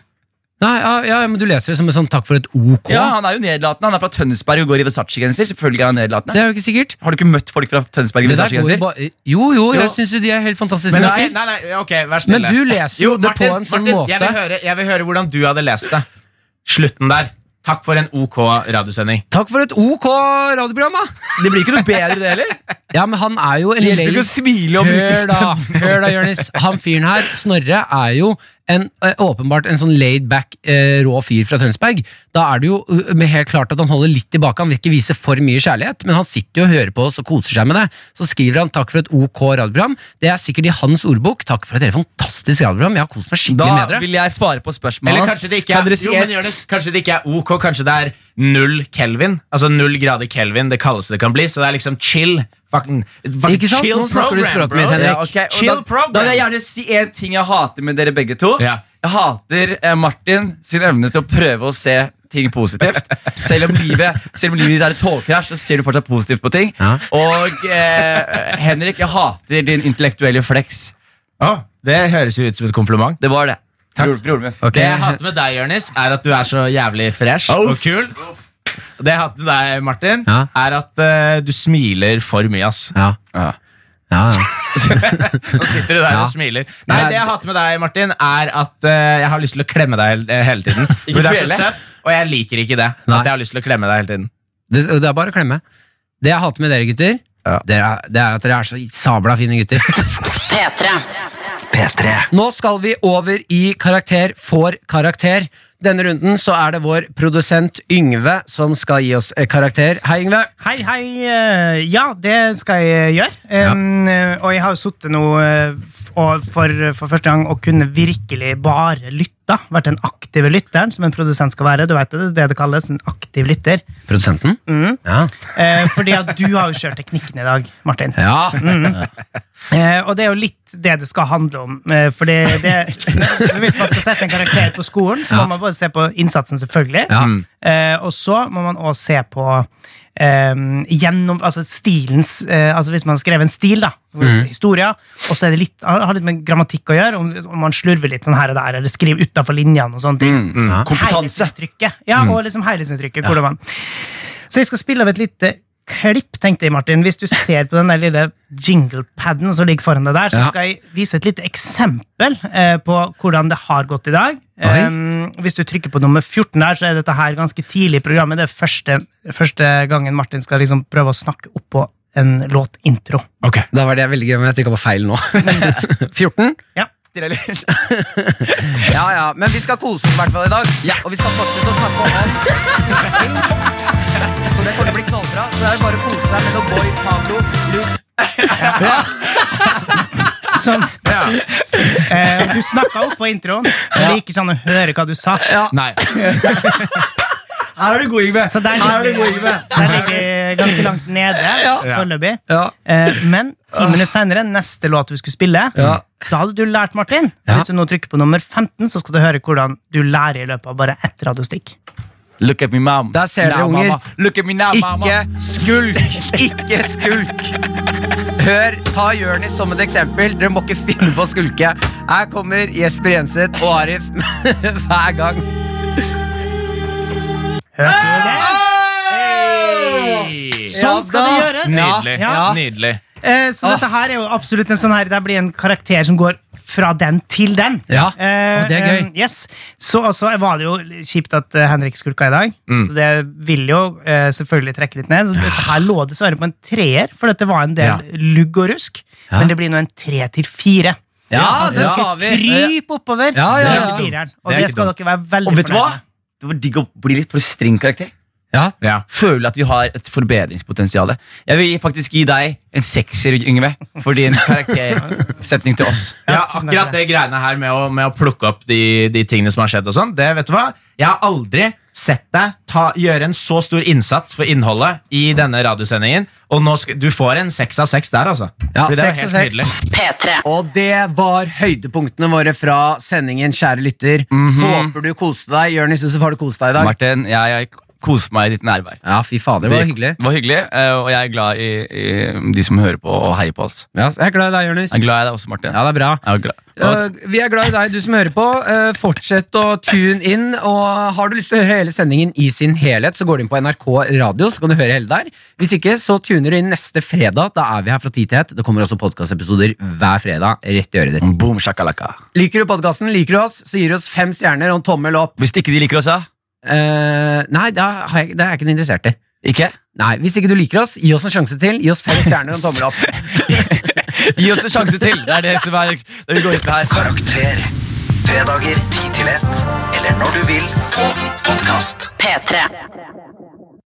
Speaker 3: Nei, ja, ja, men Du leser det som en sånn takk for et ok.
Speaker 2: Ja, Han er jo nedlatende. Han er fra Tønsberg og går i Versace-genser. Selvfølgelig er han nedlatende.
Speaker 3: Det er jo ikke sikkert.
Speaker 2: Har du ikke møtt folk fra Tønsberg i
Speaker 3: Det der går jo
Speaker 2: Versace-genser?
Speaker 3: ba- jo, jo, jeg
Speaker 2: Jo.
Speaker 3: syns jo de er helt fantastiske
Speaker 10: Men nei,
Speaker 3: mennesker.
Speaker 10: nei, nei, ok, vær
Speaker 3: Men
Speaker 10: stille.
Speaker 3: du leser jo, det på en sånn
Speaker 10: Martin,
Speaker 3: måte.
Speaker 10: Jeg vil, høre, jeg vil høre hvordan du hadde lest det. Slutten der. Takk for en ok radiosending.
Speaker 3: Takk for et ok radioprogram, da!
Speaker 2: Det blir ikke noe bedre, det heller.
Speaker 3: Ja, men han er jo en
Speaker 2: Det hjelper ikke å
Speaker 3: lazy
Speaker 2: smile og bruke
Speaker 3: Hør da, hør da, Jonis. Han fyren her, Snorre, er jo en, eh, åpenbart en sånn laid-back, eh, rå fyr fra Tønsberg. Da er det jo eh, men helt klart at han holder litt tilbake. Han vil ikke vise for mye kjærlighet, men han sitter jo og hører på oss og koser seg med det. Så skriver han 'Takk for et ok radioprogram'. Det er sikkert i hans ordbok. Takk for et helt fantastisk radioprogram. Jeg har kost meg skikkelig
Speaker 2: Da
Speaker 3: med dere.
Speaker 2: vil jeg svare på spørsmålet
Speaker 10: Eller
Speaker 2: hans.
Speaker 10: kanskje det, ikke
Speaker 2: Kan
Speaker 10: er,
Speaker 2: dere si
Speaker 10: jo,
Speaker 2: en-
Speaker 10: men Jonas, kanskje det ikke er ok, kanskje det er null kelvin. Altså null grader kelvin, det kaldeste det kan bli. Så det er liksom chill. Fucking, fucking
Speaker 3: Ikke sant?
Speaker 10: Chill
Speaker 3: Nå snakker du språket mitt,
Speaker 10: bros.
Speaker 3: Henrik.
Speaker 2: Ja, ok, og
Speaker 10: Chill
Speaker 2: da,
Speaker 10: program.
Speaker 2: da vil jeg gjerne si en ting jeg hater med dere begge to.
Speaker 10: Ja.
Speaker 2: Jeg hater eh, Martin sin evne til å prøve å se ting positivt. Selv om livet Selv om livet ditt er et togkrasj, så ser du fortsatt positivt på ting.
Speaker 3: Ja.
Speaker 2: Og eh, Henrik, jeg hater din intellektuelle flex.
Speaker 10: Å, det høres jo ut som et kompliment.
Speaker 2: Det var det. Bror, broren min.
Speaker 3: Ok.
Speaker 10: Det jeg hater med deg, Jørnis, er at du er så jævlig fresh
Speaker 2: Au.
Speaker 10: og kul. Og Det jeg hater med deg, Martin,
Speaker 3: Ja.
Speaker 10: er at eh, du smiler for mye. ass
Speaker 3: Ja.
Speaker 2: Ja.
Speaker 3: Ja, ja.
Speaker 10: Nå sitter du der
Speaker 3: Ja.
Speaker 10: og smiler. Nei,
Speaker 3: Nei,
Speaker 10: Det jeg hater med deg, Martin, er at eh, jeg har lyst til å klemme deg hele, eh, hele tiden. For du er
Speaker 2: kvele.
Speaker 10: så søt, og jeg liker ikke det.
Speaker 3: Nei.
Speaker 10: At jeg har lyst til å klemme deg hele tiden
Speaker 3: Det, det er bare å klemme. Det jeg hater med dere, gutter, det, er, det er at dere er så sabla fine gutter.
Speaker 5: P3.
Speaker 12: P3.
Speaker 3: Nå skal vi over i Karakter for karakter. Denne runden så er det vår produsent Yngve som skal gi oss eh, karakter. Hei, Yngve.
Speaker 13: Hei, hei. eh, Ja, det skal jeg gjøre. Em, eh, Og jeg har jo sittet nå eh, f- og for, for første gang og kunne virkelig bare lytte. Vært den aktive lytteren, som en produsent skal være. Du vet det, det er det det kalles. En aktiv lytter.
Speaker 3: Produsenten? Ja.
Speaker 13: Eh, Fordi at du har jo kjørt teknikken i dag, Martin.
Speaker 3: ja.
Speaker 13: Eh, og det er jo litt det det skal handle om. Eh, for det, det, så hvis man skal sette en karakter på skolen, så må man både se på innsatsen, selvfølgelig.
Speaker 3: Ja.
Speaker 13: Eh, og så må man også se på eh, gjennom, altså stilens eh, altså Hvis man har skrevet en stil, da, så er det
Speaker 14: Mhm.
Speaker 13: historia, og så er det litt, har litt med grammatikk å gjøre, om, om man slurver litt sånn her og der, eller skriver utafor linjene og sånne ting.
Speaker 14: Ja.
Speaker 4: Kompetanse.
Speaker 13: Helhetsinntrykket. Ja, og liksom helhetsinntrykket. hvordan man- Så jeg skal spille av et lite klipp, tenkte jeg, Martin. Hvis du ser på den der lille jinglepaden som ligger foran deg der, så
Speaker 14: Ja.
Speaker 13: skal jeg vise et lite eksempel eh, på hvordan det har gått i dag.
Speaker 14: Oi.
Speaker 13: Um, hvis du trykker på nummer 14 der, så er dette her ganske tidlig i programmet. Det er første, første gangen Martin skal liksom prøve å snakke oppå en låtintro.
Speaker 3: Da var det veldig gøy, men jeg trykka på feil nå. 14?
Speaker 2: Ja, ja, men vi skal kose oss i hvert fall i dag. Og vi skal fortsette å snakke om ting. Så det kommer til å bli knallbra. Så det er bare å kose seg med noe Boy Pablo. Luz.
Speaker 13: Sånn. Eh, du snakka oppå introen. Det er ikke sånn å høre hva du sa.
Speaker 10: Nei. Her er du god, Yngve.
Speaker 13: Så der
Speaker 10: Her er du
Speaker 13: ligger,
Speaker 10: god, Yngve.
Speaker 13: der ligger ganske langt nede foreløpig.
Speaker 3: Ja. Ah.
Speaker 13: Eh, men ti minutter senere, neste låt du skulle spille,
Speaker 3: Ja.
Speaker 13: da hadde du lært, Martin.
Speaker 3: Ja.
Speaker 13: Hvis du nå trykker på nummer 15, så skal du høre hvordan du lærer i løpet av bare ett radiostikk.
Speaker 4: Look at me, mom.
Speaker 3: Der ser dere,
Speaker 4: Now,
Speaker 3: unger.
Speaker 4: mama. Look at me now, mama.
Speaker 2: Ikke skulk! Ikke skulk! Hør, ta Jonis som et eksempel. Dere må ikke finne på å skulke. Her kommer Jesper Jenseth og Arif hver gang.
Speaker 13: Sånn
Speaker 2: Ja
Speaker 13: skal det
Speaker 2: da.
Speaker 13: gjøres!
Speaker 10: Nydelig.
Speaker 13: Ja.
Speaker 10: Nydelig.
Speaker 13: Eh, så dette
Speaker 3: Ah.
Speaker 13: her er jo absolutt en sånn her Det blir en karakter som går fra den til den.
Speaker 3: Ja,
Speaker 13: Eh,
Speaker 3: og det er gøy.
Speaker 13: eh, yes. Så og så var det jo kjipt at eh, Henrik skulka i dag.
Speaker 3: Mm.
Speaker 13: Så det vil jo eh, selvfølgelig trekke litt ned. Så dette her lå dessverre på en treer, for dette var en del
Speaker 3: Ja.
Speaker 13: lugg og rusk.
Speaker 3: Ja.
Speaker 13: Men det blir nå en tre til fire.
Speaker 3: Ja,
Speaker 13: altså,
Speaker 3: det
Speaker 13: det
Speaker 3: tar vi.
Speaker 13: Kryp oppover.
Speaker 3: Ja, ja, ja.
Speaker 13: til fireren. Og
Speaker 10: Det er
Speaker 13: det,
Speaker 10: ikke
Speaker 13: skal dere være veldig
Speaker 4: Og vet du hva?
Speaker 13: fornøyd med.
Speaker 4: Det var digg å bli litt for streng karakter.
Speaker 3: Ja.
Speaker 10: Ja.
Speaker 4: Føler at vi har et forbedringspotensial. Jeg vil faktisk gi deg en sekser, Yngve, for din karaktersetning til oss.
Speaker 10: Ja,
Speaker 13: tusen takk
Speaker 10: akkurat
Speaker 13: for
Speaker 10: det greiene her med å, med å plukke opp de, de tingene som har skjedd og sånn, det vet du hva? Jeg har aldri sett deg ta, gjøre en så stor innsats for innholdet i denne radiosendingen, og nå skal, du får en 6 av 6 der, altså.
Speaker 3: Ja,
Speaker 10: Fordi det var
Speaker 3: seks av
Speaker 10: helt
Speaker 3: seks.
Speaker 10: nydelig.
Speaker 5: P3.
Speaker 2: Og det var høydepunktene våre fra sendingen, kjære lytter.
Speaker 3: Mhm.
Speaker 2: Håper du koste deg. Jonis Josef, har du kost deg i dag?
Speaker 4: Martin, jeg, jeg koser meg i ditt nærvær.
Speaker 3: ja, fy fader, det var hyggelig.
Speaker 4: Det var hyggelig, eh, Og jeg er glad i, i de som hører på og heier på oss.
Speaker 3: Ja, jeg er glad i deg, Jonis.
Speaker 4: Jeg er glad i deg også, Martin.
Speaker 3: Ja, det er bra.
Speaker 4: Jeg er glad. Og,
Speaker 3: Eh, vi er glad i deg, du som hører på. Eh, fortsett å tune inn. Og har du lyst til å høre hele sendingen i sin helhet, så går du inn på NRK Radio. så kan du høre hele der. Hvis ikke, så tuner du inn neste fredag. Da er vi her fra tid til het. Det kommer også podkastepisoder hver fredag. rett i øret ditt.
Speaker 4: boom, shakalaka.
Speaker 3: Liker du podkasten, liker du oss, så gir du oss fem stjerner og en tommel opp.
Speaker 4: Hvis ikke de liker oss, da?
Speaker 3: Eh, nei, da har jeg, det er jeg ikke noe interessert i.
Speaker 4: Ikke?
Speaker 3: Nei, Hvis ikke du liker oss, gi oss en sjanse til. Gi oss fem stjerner og en tommel opp.
Speaker 4: Gi oss en sjanse til! Det er det som er det vi går ut med her.
Speaker 1: Karakter. Fredager 10 til 1. Eller når du vil på podkast.
Speaker 5: P3.